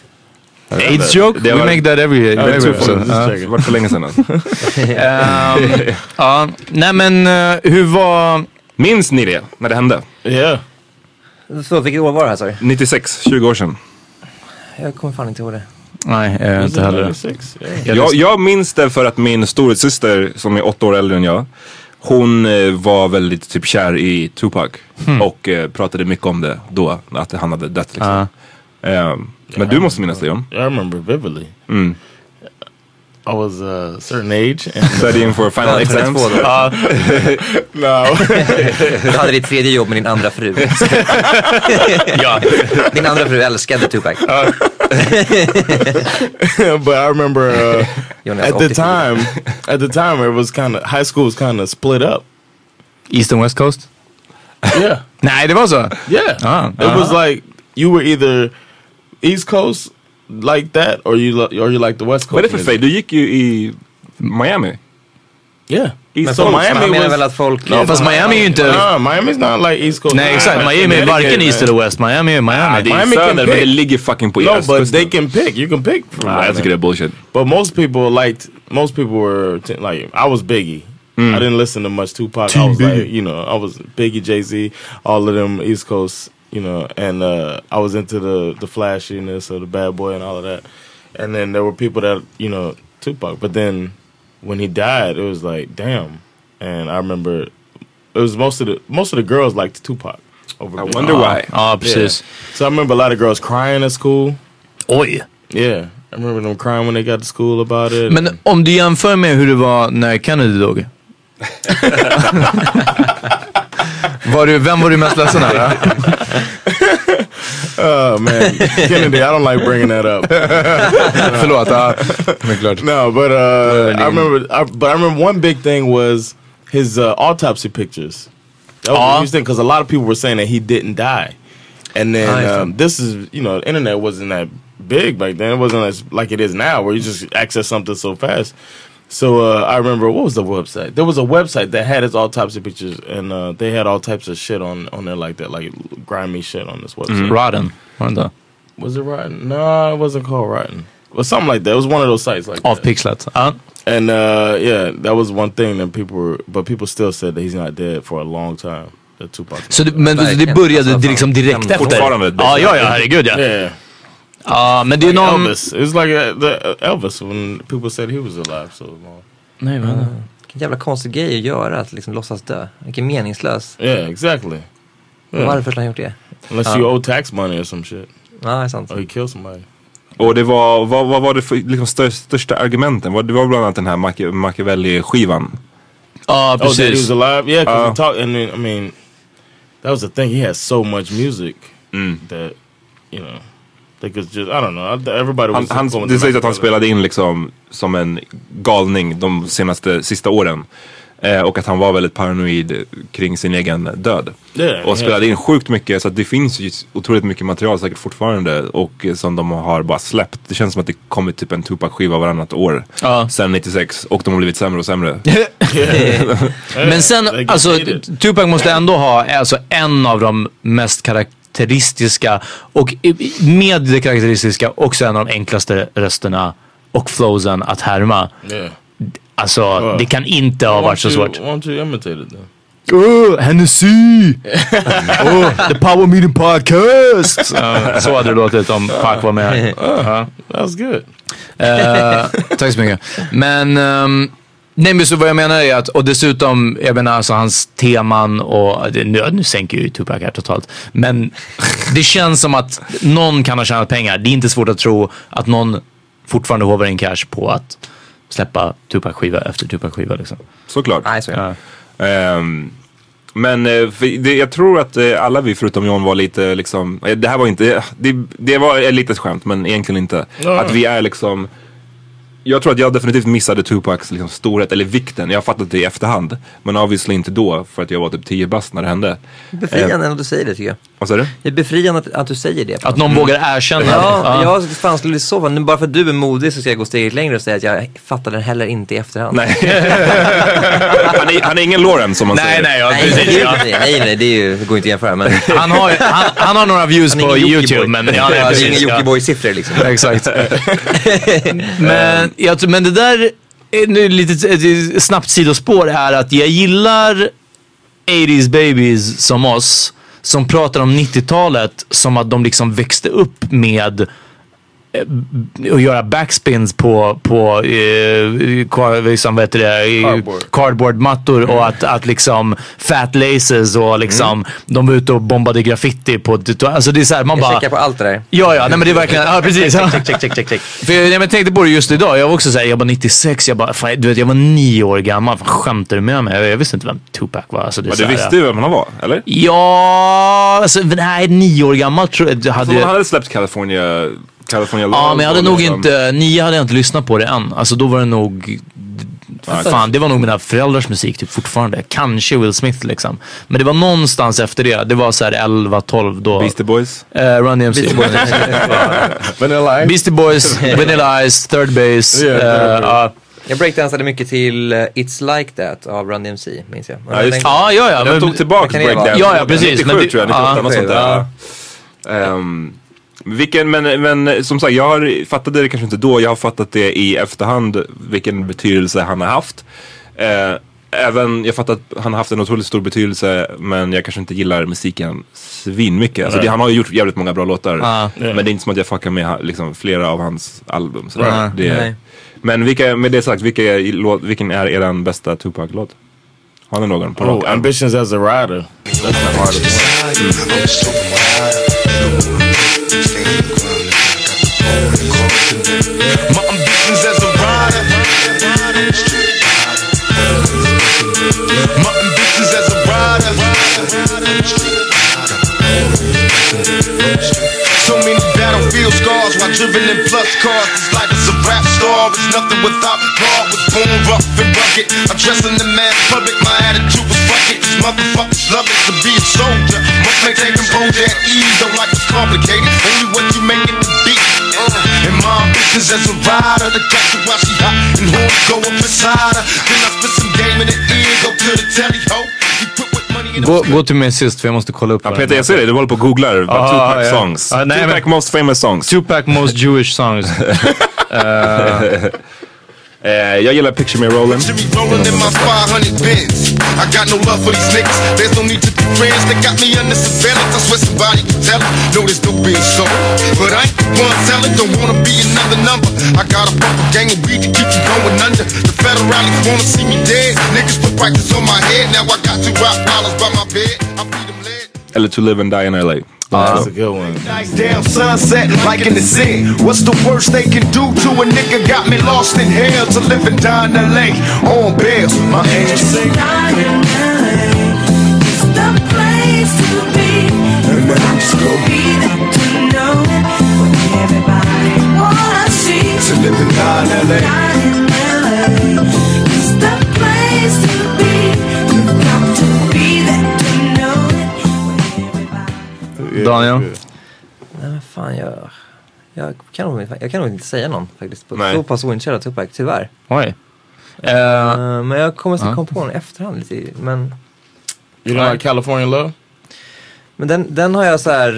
E: AIDS joke,
D: Det
E: we
D: var-
E: make that every,
A: det
E: every
A: tror
E: episode. Uh-huh.
A: jag.
E: Ja.
D: Det var för länge sedan. alltså.
E: Ehm, ja. Nej men eh, hur var...
D: Minns ni det? När det hände?
A: Yeah.
B: Förlåt, vilket år var det här sa du?
D: 96, 20 år sedan.
B: Jag kommer fan inte ihåg det.
E: Nej, eh, inte heller.
A: 96, yeah.
D: Jag, jag minns det för att min storasyster som är åtta år äldre än jag. Hon eh, var väldigt typ kär i Tupac.
E: Hmm.
D: Och eh, pratade mycket om det då. Att han hade dött liksom.
E: Ja.
D: Ehm, men du måste minnas det John.
A: I remember vividly. I was uh, a certain age and
D: Studying for final exams.
E: Ja,
A: no.
B: Du hade ditt tredje jobb med din andra fru.
E: ja.
B: Din andra fru älskade Tupac.
A: but I remember uh,
B: Jonas,
A: at the
B: 84.
A: time at the time it was kind of high school was kind of split up.
E: East and West Coast?
A: Yeah.
E: Nej, det var så?
A: Yeah.
E: Ah,
A: it was like you were either East Coast like that or you lo- or you like the West Coast.
D: Vad är det för
A: music.
D: fej? Du gick ju i Miami.
A: Yeah.
D: East
A: so
D: Coast.
B: Han
A: Miami
B: menar
A: was
B: väl att folk...
E: Ja, fast Miami är ju inte...
A: Nah, Miami's not like East Coast.
E: Nej, exakt. Miami är varken East eller West. Miami är
D: Ah, det
E: Miami.
D: är
A: Miami
D: söder
A: can
D: men det
A: pick.
D: ligger fucking på
A: No, but
D: östkusten.
A: they can pick. You can pick from
D: Ah,
A: that,
D: jag tycker det är bullshit.
A: But most people liked. Most people were t like I was Biggie. I didn't listen to much Tupac. I was like, you know, I was Biggie, Jay Z, all of them East Coast, you know, and uh, I was into the the flashiness of the bad boy and all of that. And then there were people that you know Tupac, but then when he died, it was like damn. And I remember it was most of the most of the girls liked Tupac. Over
D: I
A: Biggie. Uh,
D: wonder why. Oh,
E: Ja,
A: Yeah.
E: precis.
A: So I remember a lot of girls crying at school.
E: Oj.
A: Yeah, I remember them crying when they got to school about it.
E: Men om du jämför med hur det var när Kennedy dog. var du, vem var du mest ledsen över?
A: oh man, Kennedy, I don't like bringing that up.
E: Förlåt. ja. Men klart.
A: No, but uh, I remember. I, but I remember one big thing was his uh, autopsy pictures. That was
E: Aw.
A: a huge thing because a lot of people were saying that he didn't die, and then
B: Nice.
A: um, this is you know the internet wasn't that big back then. It wasn't as like it is now, where you just access something so fast. So uh, I remember what was the website? There was a website that had his autopsy pictures, and uh, they had all types of shit on on there like that, like grimy shit on this website.
E: Mm. Rotten, var det inte?
A: Was it Rotten? No, it wasn't called Rotten. Or something like that. It was one of those sites like off
E: Pixlet.
A: And uh, yeah, that was one thing that people were, but people still said that he's not dead for a long time. That Tupac.
E: Så det, men det det började det liksom direkt efter? Ja, ja, ja, herregud ja.
A: Oh, Yeah. Uh,
E: Ja, men det är
A: like
E: någon...
A: Elvis. It was like uh, the, uh, Elvis when people said he was alive so long.
E: Nej, men...
B: Vilken jävla konstig grej att göra, att liksom låtsas dö. Vilken meningslös.
A: Yeah, exactly.
B: Men Varför skulle han gjort det?
A: Unless
B: Ja.
A: you owe tax money or some shit.
B: Ja, det är sant.
A: Or you kill somebody.
D: Och det var, vad, vad var det för liksom, stör, största argumenten? Var- Det var bland annat den här Machi- Machiavelli-skivan. Uh,
E: Ja,
A: Oh, that he was alive? Yeah, because
D: Ja.
A: he talked. And then, I mean, that was the thing. He had so much music
D: Mm.
A: that you know they could just. I don't know. I- Everybody
D: Han,
A: was.
D: han,
A: going
D: det
A: to
D: sägs att han
A: Machiavelli.
D: spelade in liksom som en galning de senaste, sista åren. Eh, och att han var väldigt paranoid kring sin egen död.
A: Yeah,
D: och spelade
A: yeah.
D: in sjukt mycket så att det finns ju otroligt mycket material säkert fortfarande och eh, som de har bara släppt. Det känns som att det kommer typ en Tupac-skiva varannat år sen 96 och de har blivit sämre och sämre.
E: Men sen, alltså Tupac måste ändå ha alltså, en av de mest karaktäristiska och i- i- med det karaktäristiska också en av de enklaste rösterna och flowsen att härma.
A: Yeah.
E: Alltså,
A: Ja.
E: det kan inte ha
A: Why
E: varit så
A: don't you-
E: svårt.
A: Why don't you imitate it then?
E: Oh, Hennessy! oh, the Power Meeting Podcast! Ja, så hade det låtit om Pac var med. Ja.
A: That was good.
E: Eh, tack så mycket. Men, ehm, nej men så vad jag menar är att, och dessutom, jag menar alltså hans teman och, det- nu, nu sänker jag ju Tupac här totalt. Men det känns som att någon kan ha tjänat pengar. Det är inte svårt att tro att någon fortfarande hovar in cash på att släppa Tupac-skiva efter Tupac-skiva liksom.
D: Såklart. Ehm, men eh, för det, jag tror att eh, alla vi förutom John var lite liksom, eh, det här var inte, det, det var ett litet skämt men egentligen inte.
A: Ja.
D: Att vi är liksom, jag tror att jag definitivt missade Tupacs liksom, storhet eller vikten. Jag har fattat det i efterhand. Men obviously inte då för att jag var typ 10 bast när det hände.
B: Befriande
D: Eh,
B: att du säger det tycker jag.
D: Vad sa du? Mm.
B: Det är befriande att, att du säger det.
D: Att någon vågar
E: erkänna
D: det.
B: Ja,
D: Ja.
B: jag fan skulle bli så nu Bara för att du är modig så ska jag gå steget längre och säga att jag fattade den heller inte i efterhand.
D: Nej. han, är, han är ingen Lauren som man
B: Nej,
D: säger.
B: nej, ja, Nej, precis, gud, ja. nej, nej, nej, det är ju, går inte att jämföra. Men...
E: Han har, han, han har några views
B: Han är
E: på
B: ingen Jockiboi.
E: YouTube men...
B: Ja, det är ingen
E: Jockiboi-siffror liksom. Exakt. men, jag, tror- men det där, är nu lite ett snabbt sidospår är att jag gillar 80s babies som oss som pratar om 90-talet som att de liksom växte upp med eh, b- att göra backspins på, på eh, kar, liksom, vad heter det, eh, cardboardmattor och att, att liksom fat laces och liksom de var ute och bombade graffiti på det- Alltså det är så här, man
B: Mm. jag
E: bara...
B: checkar på allt det där.
E: Ja, ja, nej men det är verkligen, ja precis.
B: Check, check, check, check, check, check.
E: För jag, nej, men jag tänkte på det just idag. Jag var också såhär, jag var 96, jag bara, fan, du vet jag var nio år gammal. Fan, skämtar du med mig? Jag, jag visste inte vem Tupac var. Alltså, det är
D: Men
E: så
D: du
E: här,
D: visste ju vem han var, eller?
E: Ja, alltså, nej, nio år gammal tror jag. jag
D: Hade...
E: hade,
D: Han hade släppt California, California
E: ja,
D: Love
E: men jag hade
D: och
E: nog
D: liksom-
E: inte, nio hade jag inte lyssnat på det än. Alltså då var det nog, fan det var nog mina föräldrars musik typ fortfarande. Kanske Will Smith liksom. Men det var någonstans efter det. Det var såhär 11, 12 då. Eh,
D: Beastie Boys?
E: Run DMC.
A: Beastie Boys. Vanilla Ice.
E: Beastie Boys, Vanilla Ice, Third Base.
B: Yeah,
E: eh,
B: Third Base.
E: ja.
B: Jag breakdansade mycket till eh, It's Like That av Run DMC, minns jag.
D: Ja, just det.
E: Ja, ja, ja.
D: Jag
E: men-
D: tog tillbaka
B: Vad kan det vara?
D: breakdance.
B: Ja, ja, precis,
D: 97
B: men det-
D: tror jag, 98
B: ja.
D: något sånt där.
B: Ja.
D: Ehm, vilken, men, men som sagt, jag har fattade det kanske inte då. Jag har fattat det i efterhand vilken betydelse han har haft. Eh, även, jag fattar att han har haft en otroligt stor betydelse men jag kanske inte gillar musiken svinmycket. Alltså,
A: Nej.
D: det, han har ju gjort jävligt många bra låtar.
A: Ja.
D: Men det är inte som att jag fuckar med ha- liksom, flera av hans album. Sådär.
A: Ja,
D: Det,
A: nej.
D: Men vilka, med det sagt, vilka är, låt- vilken är er bästa Tupac-låt? Har ni någon på rak
A: Oh,
D: arm?
A: ambitions as a rider.
H: My ambitions as a rider. My ambitions as a rider. So many battlefield scars while driven in plus cars. This life is a rap star. It's nothing without God. Was born rough and rugged. I dress in the mass public. My attitude was rugged. These motherfuckers love it to be a soldier. Must maintain composure and ease. Don't like it's complicated. Only what you make it to be. Uh, positions as a rider to catch her while she hot and horns go up inside her. Then I spit some game in the ear, go to the telly ho. You put with money in
E: Gå, gå till mig sist för jag måste kolla upp
D: Ja, Peter, jag ser dig. Du håller på och googlar. Bara
E: Ah,
D: Tupac
E: ja.
D: songs.
E: Ah, nej,
D: Tupac
E: men-
D: most famous songs.
E: Tupac most Jewish songs.
D: Eh, jag gillar Picture Me Rollin'.
H: rolling in my 500 bins. I got no love for these niggas. There's no need to be friends. They got me under surveillance. I swear somebody can tell it. No, there's no being sold. But I ain't the one selling. Don't wanna be another number. I got a proper gang of weed to keep you going under. The federalists wanna see me dead. Niggas put prices on my head. Now I got two rock dollars by my bed.
D: Eller To Live and Die in LA.
A: Ah. That's a good one.
H: Nice damn sunset and liking the sin. What's the worst they can do to a nigga? Got me lost in hell to live and die in LA on bills. My angel sing.
I: Eh,
E: Daniel?
B: Nej men fan jag... Jag kan nog, jag kan nog inte säga någon faktiskt. På
E: Nej.
B: Så pass oinkörd Tupac, tyvärr.
E: Oj.
B: Eh, men jag kommer
E: ja.
B: att komma på den i efterhand lite. i- Men...
I: Gillar du California Love?
B: Men den, den har jag så här,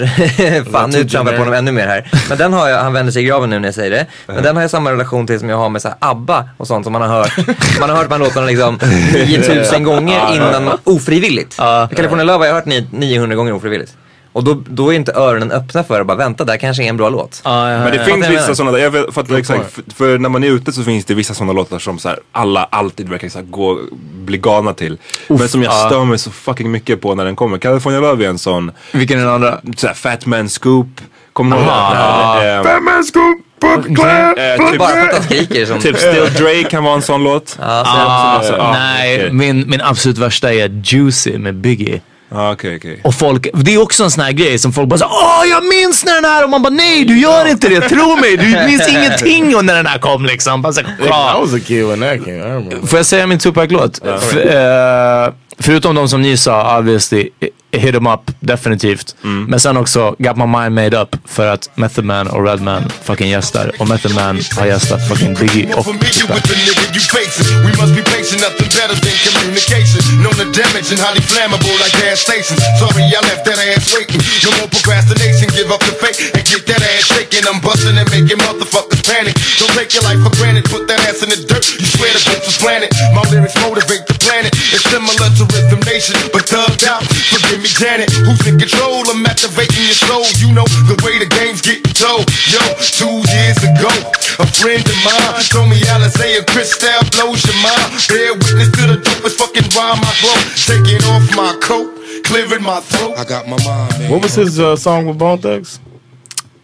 B: fan nu
I: Typ
B: trampar jag på dem ännu mer här. Men den har jag, han vänder sig i graven nu när jag säger det. Men den har jag samma relation till som jag har med så här ABBA och sånt som man har hört. Man har hört de här låtarna liksom 9000 gånger innan, ofrivilligt. California Love har jag hört ni- 900 gånger ofrivilligt. Och då, då är inte öronen öppna för att bara vänta, där kanske är en bra låt.
D: Men det
B: Fattar ni
A: Eh,
D: finns
B: vad jag menar?
D: vissa sådana, jag vet, fattar
B: Bra
D: exakt,
B: kvar.
D: för, liksom, för när man är ute så finns det vissa sådana låtar som så här, alla alltid verkar så här, gå, bli galna till. men som jag
J: ja.
D: stör mig så fucking mycket på när den kommer. California Love är en sån.
E: Vilken är den andra?
D: Så här, Fat Man Scoop. Kommer ni ihåg
J: Aha.
D: den? här?
J: Ah.
D: Eh,
J: Fat Man Scoop! Book Club!
D: Eh, typ,
J: Bara för att han skriker som-
D: typ Still Dre kan vara en sån låt.
E: Ah,
D: Alltså, ah,
E: nej,
D: okej.
E: min, min absolut värsta är Juicy med Biggie.
D: Ah, okay, okay.
E: Och folk, det är också en sån här grej som folk bara så, åh jag minns när den här och man bara nej du gör inte det, tro mig, du minns ingenting och när den här kom liksom. Bara så, här,
I: I
E: "Bra."
I: was a kid when that came. I remember.
E: Får jag säga min Tupac-låt?
I: Ja.
E: F- eh, förutom de som ni sa, obviously, eh, Hit 'em up, definitivt.
D: Mm.
E: Men sen också Got My Mind Made Up för att Method Man och Redman fucking gästar. Och Method Man har gästat fucking Biggie och
H: familiar with the nigga you facing. We must be patient, nothing better than communication. Known the damage and highly flammable like gas stations. Sorry, I left that ass waiting. No more procrastination, give up the fake and get that ass shaking. I'm busting and making motherfuckers panic. Don't take your life for granted, put that ass in the dirt. You swear the bitch was planted. My lyrics motivate the planet. It's similar to Rhythm Nation, but thugged out. Forgive me, Janet. Who's in control? I'm activating your soul. You know the way the game's getting told. Yo, two years ago, a friend of mine told me Alizé and Cristal blows your mind. Bear witness to the dopest fucking rhyme I blow. Taking off my coat, clearing my throat. I got my mind.
I: What was his uh, song with Bone Thugs?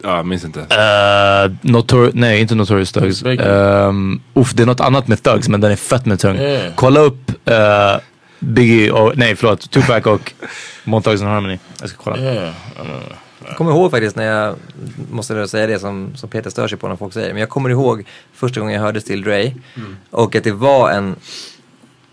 D: Ja, minns inte.
E: Uh, notor- nej, inte Notorious Thugs. Um, uff, det är något annat med Thugs, men den är fett med tung.
I: Yeah.
E: Kolla upp eh, Biggie och, nej förlåt, Tupac och Montags and Harmony. Jag ska kolla.
B: Jag kommer ihåg faktiskt när jag, måste jag säga det som, som Peter stör sig på när folk säger, men jag kommer ihåg första gången jag hörde Still Dre och att det var en,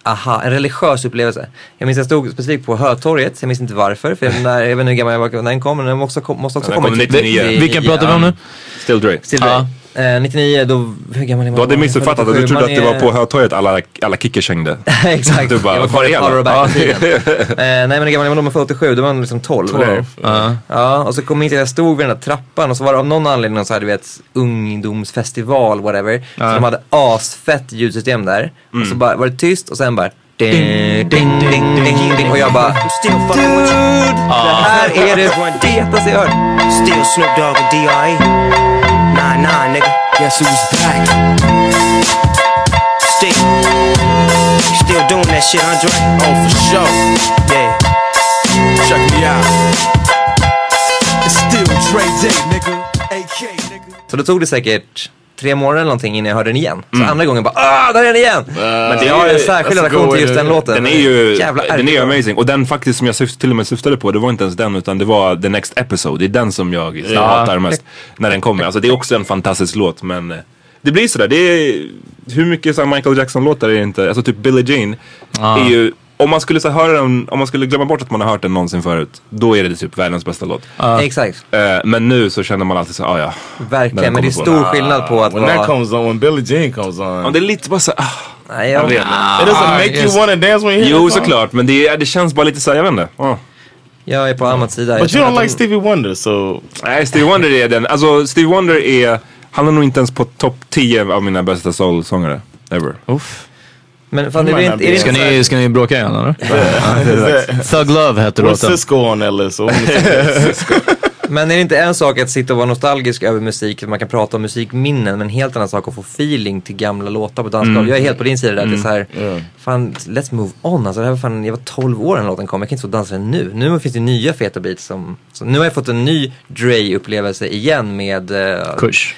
B: aha, en religiös upplevelse. Jag minns jag stod specifikt på Hötorget, jag minns inte varför, för när, jag vet inte hur gammal jag var när den kom, men den måste, också- måste också
D: Den
B: komma
D: kom 99. Vilken pratar vi om nu? Still Dre.
B: Still Dre. Eh, 99, då, hur gammal är man?
D: Du hade missuppfattat det. Du trodde att det var på
B: Hötorget.
D: Hötorget alla, alla kickers hängde.
B: Exakt.
D: Du bara,
B: Jag var
D: vad fan är
B: kvar i
D: alla?
B: Power
D: Ja.
B: och Back-tiden. Eh, nej men hur gammal var man för 87? Då var man liksom 12. eller? Ja, och så kom jag in till jag stod vid den där trappan och så var det av någon anledning någon så här, du vet, ungdomsfestival, whatever.
E: Ja.
B: Så de hade asfett ljudsystem där. Och
D: Mm.
B: så bara, var det tyst och sen bara Ding, ding, ding, ding, ding. Och jag bara, dude, det här är det fetaste jag hört.
K: Still Snoop Dogg and D.R.E. Nah, nah, nigga. Guess who's back? Still. Still doing that shit, Andre? Oh, for sure. Yeah. Check me out. It's still Dre Day, nigga. AK, nigga.
B: Så då tog det säkert tre månader eller någonting innan jag hörde den igen. Så
D: Mm.
B: andra gången bara, ah, där är den igen! Men det har en särskild relation till just den låten.
D: alltså, Den är ju
B: Jävla
D: den är ju
B: ärkedag.
D: amazing. Och den faktiskt som jag syft, till och med syftade på, det var inte ens den utan det var The Next Episode. Det är den som jag
J: Ja.
D: hatar mest när den kommer. Alltså det är också en fantastisk låt men eh, det blir sådär. Det är, hur mycket så här Michael Jackson-låtar är det inte? Alltså typ Billie Jean
J: Ja.
D: är ju om man skulle så höra den, om man skulle glömma bort att man har hört den någonsin förut, då är det typ världens bästa låt.
B: Ja. Exakt.
D: Eh, men nu så känner man alltid så, ah, ja.
B: Verkligen,
D: När den
B: men det är
D: kommer på.
B: stor skillnad på att
A: When that comes on, when Billie Jean comes on.
D: Ja, det är lite bara så, ah,
B: Nej,
D: jag vet.
A: It doesn't make you wanna dance when you hear
D: Jo,
A: the song.
D: såklart. Men det, är- det känns bara lite såhär, jag vet inte. Ja.
B: Jag är på Ahmads sida.
A: But you don't like Stevie Wonder, so...
D: Nej, Stevie Wonder är den. Alltså, Stevie Wonder är... Han är nog inte ens på topp 10 av mina bästa soul-sångare. Ever.
E: Uff.
B: Men
E: fan, det är inte- är det
D: Ska
E: Ska
D: ni...
E: ni, ska ni bråka igen eller? Thug Love hette
A: With
E: låten.
A: Cisco on that list. so-
B: Men är det inte en sak att sitta och vara nostalgisk över musik, för man kan prata om musikminnen, men en helt annan sak att få feeling till gamla låtar på dansgolv.
D: Mm.
B: Jag är helt på din sida där, att det är så här,
D: Mm.
B: fan, let's move on. Alltså, det här var fan, jag var 12 år när låten kom, jag kan inte stå och dansa den nu. Nu finns det nya feta beats som, så nu har jag fått en ny Dre-upplevelse igen med... eh,
E: Kush.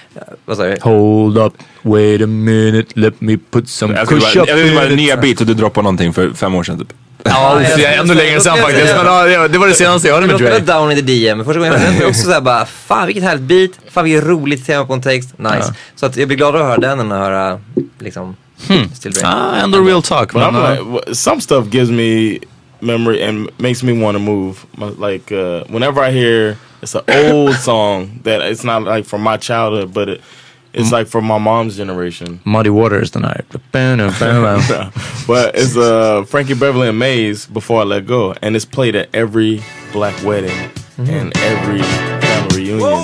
B: Vad sa du?
E: Hold up, wait a minute, let me put some
D: Jag skulle
E: kush up
D: bara, jag vill bara
E: in it.
D: nya beat och du droppar någonting för fem år sedan typ.
E: Ja, det är ännu längre sedan faktiskt. Men ja, det- det var det senaste jag hörde med
B: Jag
E: Drake.
B: låter Down in the DM. Första gången jag hörde den var jag också såhär bara, fan vilket härligt beat, fan vilket roligt tema på en text, nice.
E: Ja.
B: Så att jag blir gladare att höra den än att höra liksom
E: Hmm.
B: Still
E: Ah, ändå real talk.
A: But
E: Men,
A: I'm like,
E: uh,
A: w- some stuff gives me memory and makes me want to move. My- Like uh, whenever I hear it's an old song that it's not like from my childhood, but it, it's like from my mom's generation.
E: Muddy Waters den här.
A: No. but it's uh, Frankie Beverly and Mays before I let go, and it's played at every black wedding and every family reunion.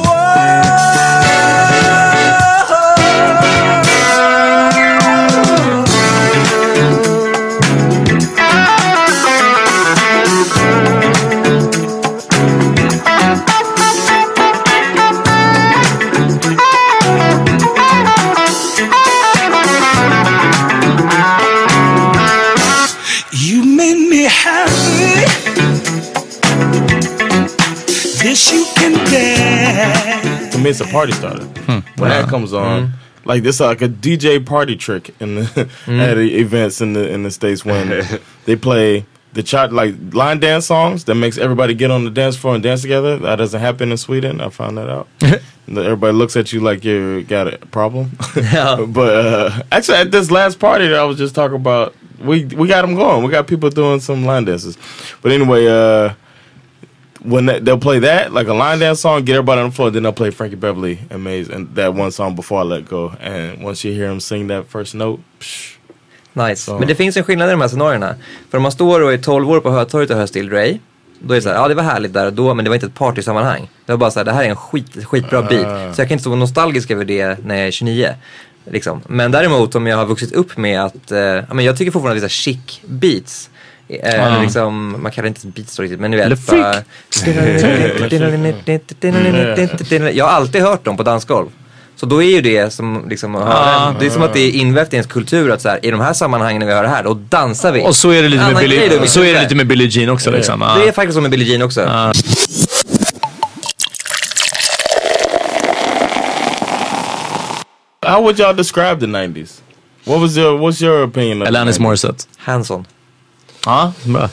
C: You made me happy. This you can bear.
A: To me, it's a party starter. When that
C: Wow.
A: comes on,
C: Mhm.
A: like this, like a DJ party trick in the at the events in the in the states when they play the child like line dance songs that makes everybody get on the dance floor and dance together. That doesn't happen in Sweden. I found that out. And Everybody looks at you like you got a problem. but uh, actually, at this last party that I was just talking about, we we got them going. We got people doing some line dances. But anyway, uh, when that, they'll play that like a line dance song, get everybody on the floor. Then they'll play Frankie Beverly and Maze and that one song before I let go. And once you hear him sing that first note, psh,
B: Nice.
A: Så.
B: Men det finns en skillnad i de här scenarierna. För om man står och är 12 år på Hötorget och hör Still Ray, då är det såhär, ja det var härligt där och då, men det var inte ett partysammanhang. Det var bara såhär, det här är en skit, skitbra
C: Ah.
B: beat. Så jag kan inte stå nostalgisk över det när jag är 29. Liksom. Men däremot om jag har vuxit upp med att, eh, ja, men jag tycker fortfarande vissa chic beats. Eh,
C: Ah.
B: liksom, man kallar det inte beats då riktigt, men du
C: Eller
B: vet. bara- Jag har alltid hört dem på dansgolv. Så då är ju det som liksom, att höra-
E: Ah.
B: det är som att det är invävt i ens kultur att så här, i de här sammanhangen när vi hör det här, då dansar vi.
E: Och så är det lite med
B: Annan grej då,
E: Billie,
B: vi
E: så är det
B: dansar.
E: lite med Billie Jean också liksom. Ah.
B: Det är faktiskt så med Billie Jean också.
A: how would y'all describe the '90s? What was your what's your opinion? Of the
E: Alanis
A: 90s?
E: Morissette.
B: Hanson.
E: Ja, bra.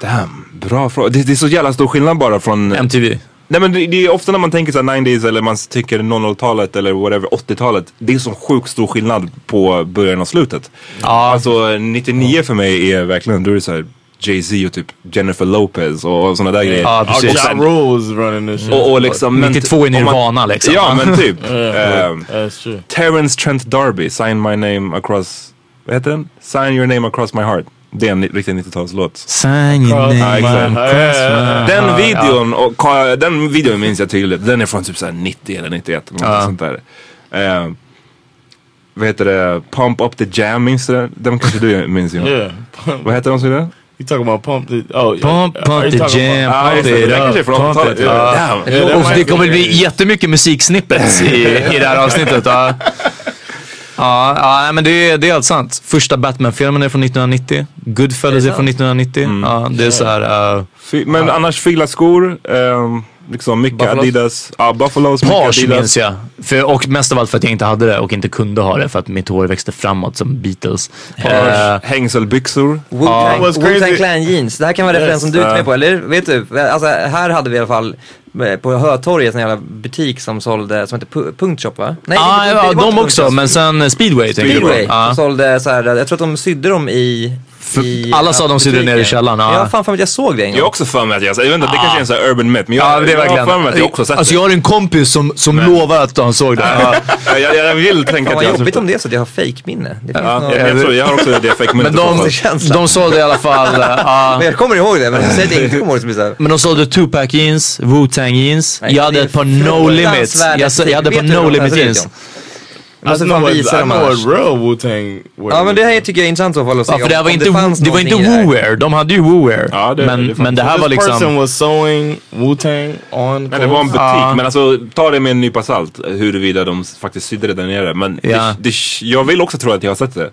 D: Damn, bra fråga. Det, det är så jävla stor skillnad bara från...
E: MTV.
D: Nej men det, det är ofta när man tänker så här 90s eller man tycker 00-talet eller whatever, 80-talet. Det är så sjukt stor skillnad på början och slutet. Alltså 99 för mig är verkligen, då är det så här Jay-Z och typ Jennifer Lopez och, och sådana
E: Oh,
D: där grejer.
A: Ja,
D: och,
A: precis. Ja,
D: sen,
A: Oh, Rule was running this shit.
D: och, och liksom... men-
E: Oh,
D: om man-
A: liksom.
D: Ja men typ.
A: Yeah,
E: Um,
D: Ehm,
A: that's true.
D: Terrence Trent D'Arby, Sign My Name Across... Vad heter den? Sign Your Name Across My Heart. Det är en riktig 90-talslåt.
E: Sign your
D: Ja,
E: name
D: exakt.
E: across my
D: Den
E: heart.
D: videon, och, ka- den videon minns jag tydligt. Den är från typ så här 90 eller 91. Något
E: Ja.
D: sånt där. Eh, vad heter det? Pump Up The Jam, minns du den? Den kanske du minns Jonas?
A: Yeah.
D: Vad heter de som gjorde den?
A: You talking about pump the oh
E: Pump,
A: are
E: pump
A: you
E: the
A: talking
E: jam,
A: about- Ah,
E: pump
A: just det,
E: it
A: det kanske är
E: up,
A: från
E: pump
A: 80-talet,
E: it up.
A: ja. Ja,
E: Och
A: might
E: det kommer
A: be-
E: bli jättemycket musiksnippets i, i det här avsnittet. Ja, ja, ja nej, men det, är- det är helt sant. Första Batman-filmen är från 1990. Goodfellas är,
D: sant?
E: från 1990.
A: Mm.
E: Ja, det är så här... Uh,
D: Fy- Men annars fila skor, ehm, liksom mycket
E: Buffalos?
D: Adidas. Ja, Buffalos, mycket
E: Page
D: Adidas.
E: minns jag. För, och mest av allt för att jag inte hade det och inte kunde ha det för att mitt hår växte framåt som Beatles. Eh,
D: Page, hängselbyxor.
B: Wu-Tang,
E: What's crazy-
B: Wu-Tang Clan Jeans. Det här kan vara
E: Yes.
B: referens som du inte är
E: Ja.
B: med på, eller Vet du? Alltså, här hade vi i alla fall eh, på Hötorget en jävla butik som sålde, som hette Pu- Punkt Shop va? Nej,
E: ah,
B: det- det-
E: ja,
B: det var
E: de
B: inte
E: också,
B: Punkt Shop.
D: Alltså,
E: men sen eh, speedway. tänker jag på.
B: Speedway.
E: Ja.
B: Som sålde så här, jag tror att de sydde dem i
E: För alla sa de sitter nere i källaren.
B: Jag har
E: Ja.
B: fan för mig att jag såg det en gång. Ah.
D: Jag har också för mig att jag, jag vet inte, det kanske är en sån här urban myth, men jag,
B: Ja, men det
D: jag
B: är
D: har
B: verkligen-
D: för mig att jag också har sett
E: Alltså jag har en kompis som, som lovar att han såg det. Ja.
D: det. Jag, jag, jag vill tänka
B: Fan,
D: att
B: vad
D: jag
B: jobbigt om det är så att jag har fake-minne. Det finns
D: Ja,
B: någon-
D: jag, jag tror, jag har också det fake
E: Men de, de sålde i alla fall... ja.
B: Men jag kommer ihåg det, men jag säger att jag inte kommer ihåg det. som är så här-
E: Men de sålde Tupac jeans, Wu-Tang jeans. Jag hade ett par No Limits.
B: fruktansvärda
E: Jag, sa- jag hade ett
B: stil. Vet du
E: par No
B: hur de
E: Limit
B: ser ut,
E: jeans.
B: John? Jag
D: Alltså,
B: måste fan visa dem annars.
A: real Wu-Tang
B: Ja men det här tycker jag är intressant i så fall att se
E: Ja, för
B: om-
E: det här var
B: om
E: inte,
B: fanns
E: det var inte
B: någonting i det här.
E: Wu-wear. De hade ju Wu-wear.
D: det-
E: men,
D: det fanns-
E: men det här
D: This
E: var liksom...
D: person
A: was sewing Wu-Tang on
D: Men det var en butik, men alltså ta det med en nypa salt huruvida de faktiskt sydde det där nere. Men
E: Ja.
D: det, det, jag vill också tro att jag har sett det.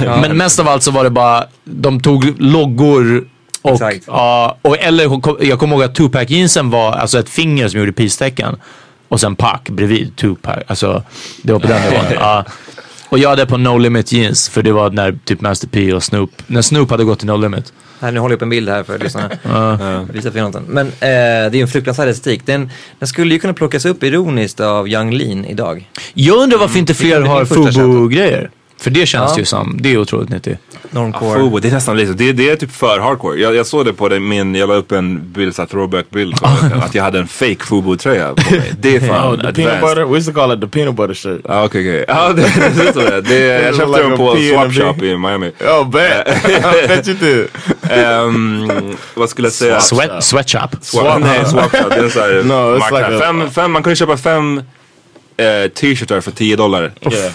E: Men mest av allt så var det bara, de tog loggor och, ja, och eller, jag kommer ihåg att Tupac jeansen var alltså ett finger som gjorde peace-tecken. Och sen Pac bredvid Tupac. Alltså, det var på den nivån. Ja. Och jag hade på No Limit jeans, för det var när typ Master P och Snoop, när Snoop hade gått till No Limit.
B: Här, nu håller jag upp en bild här för lyssnarna.
E: Ja.
B: Eh, Visa för Jonathan. Men eh, det är ju en fruktansvärd estetik. Den, den skulle ju kunna plockas upp ironiskt av Yung Lean idag.
E: Jag undrar varför inte
B: Mm. Det är
E: fler
B: min
E: har
B: första
E: Fubu-grejer. För det känns
B: Ja.
E: ju som, det är otroligt nyttigt.
B: Normcore.
D: Afro, Oh, det är nästan lite, det, det är typ för hardcore. Jag, jag såg det på det, min, jag la upp en bild, så här throwback-bild, på det, att jag hade en fake Fubu-tröja på mig. Det är fan
A: Oh, the peanut
D: advanced.
A: butter. We used to call it the peanut butter shirt.
D: Ja, okej, okej. Ja, det det ser ut som det. det
A: It
D: jag
A: was
D: köpte
A: like
D: den
A: a
D: på
A: P&B.
D: Swap Shop i Miami.
A: Oh, bet. I bet you did.
D: Ehm, vad skulle jag säga?
E: Sweat, sweatshop.
D: Swap, nej, swap shop. Det är så här
A: No, it's
D: marknad.
A: like a-
D: fem, fem, man kunde köpa fem eh, t-shirtar för 10 dollar.
A: Yeah.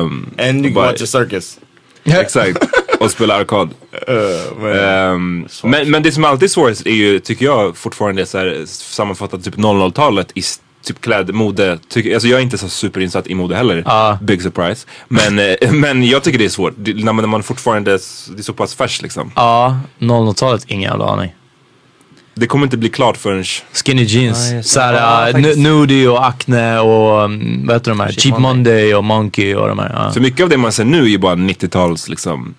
D: Ehm,
A: And you
D: och bara-
A: watch a circus. Eh,
D: Exakt. Och spela arkad. Ehm, men, men det som alltid är svårast är ju, tycker jag fortfarande, så här, sammanfattat typ 00-talet i s- typ klädmode. Tycker- Alltså jag är inte så superinsatt i mode heller. Big surprise. Men, eh, men jag tycker det är svårt. Det, när, man, när man fortfarande, s- det är så pass färskt liksom.
E: Ja, 00-talet, ingen jävla aning.
D: Det kommer inte bli klart förrän...
E: Skinny jeans.
D: Ja, just det. Ja,
E: Såhär, uh,
D: faktiskt.
E: Nudie och Acne och um, vad heter de här? Cheap Monday och Monkey och de här. ja.
D: Så mycket av det man ser nu är ju bara 90-tals liksom.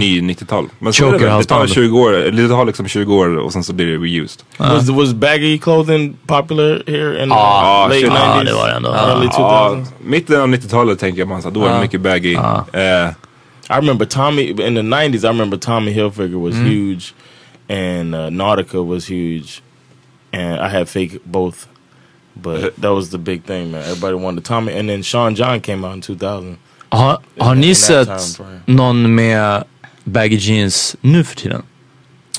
D: Ny 90-tal. Men så är det, väl. det tar
A: Chokerhalsband.
D: 20 år, eller det tar liksom 20 år och sen så blir det reused.
A: Was, was baggy clothing popular here in the late 90s? Early 2000s?
D: mitten av 90-talet tänker man, så här, då
B: Uh,
D: var det
A: Ja.
D: mycket baggy. Eh,
A: I remember Tommy in the nineties. I remember Tommy Hilfiger
B: Mm-hmm.
A: was huge, and uh, Nautica was huge, and I had fake both, but that was the big thing, man. Everybody wanted Tommy, and then Sean John came out in two thousand.
E: Har, har
A: In
E: ni
A: that
E: sett
A: time frame.
E: någon med baggy jeans nu för tiden?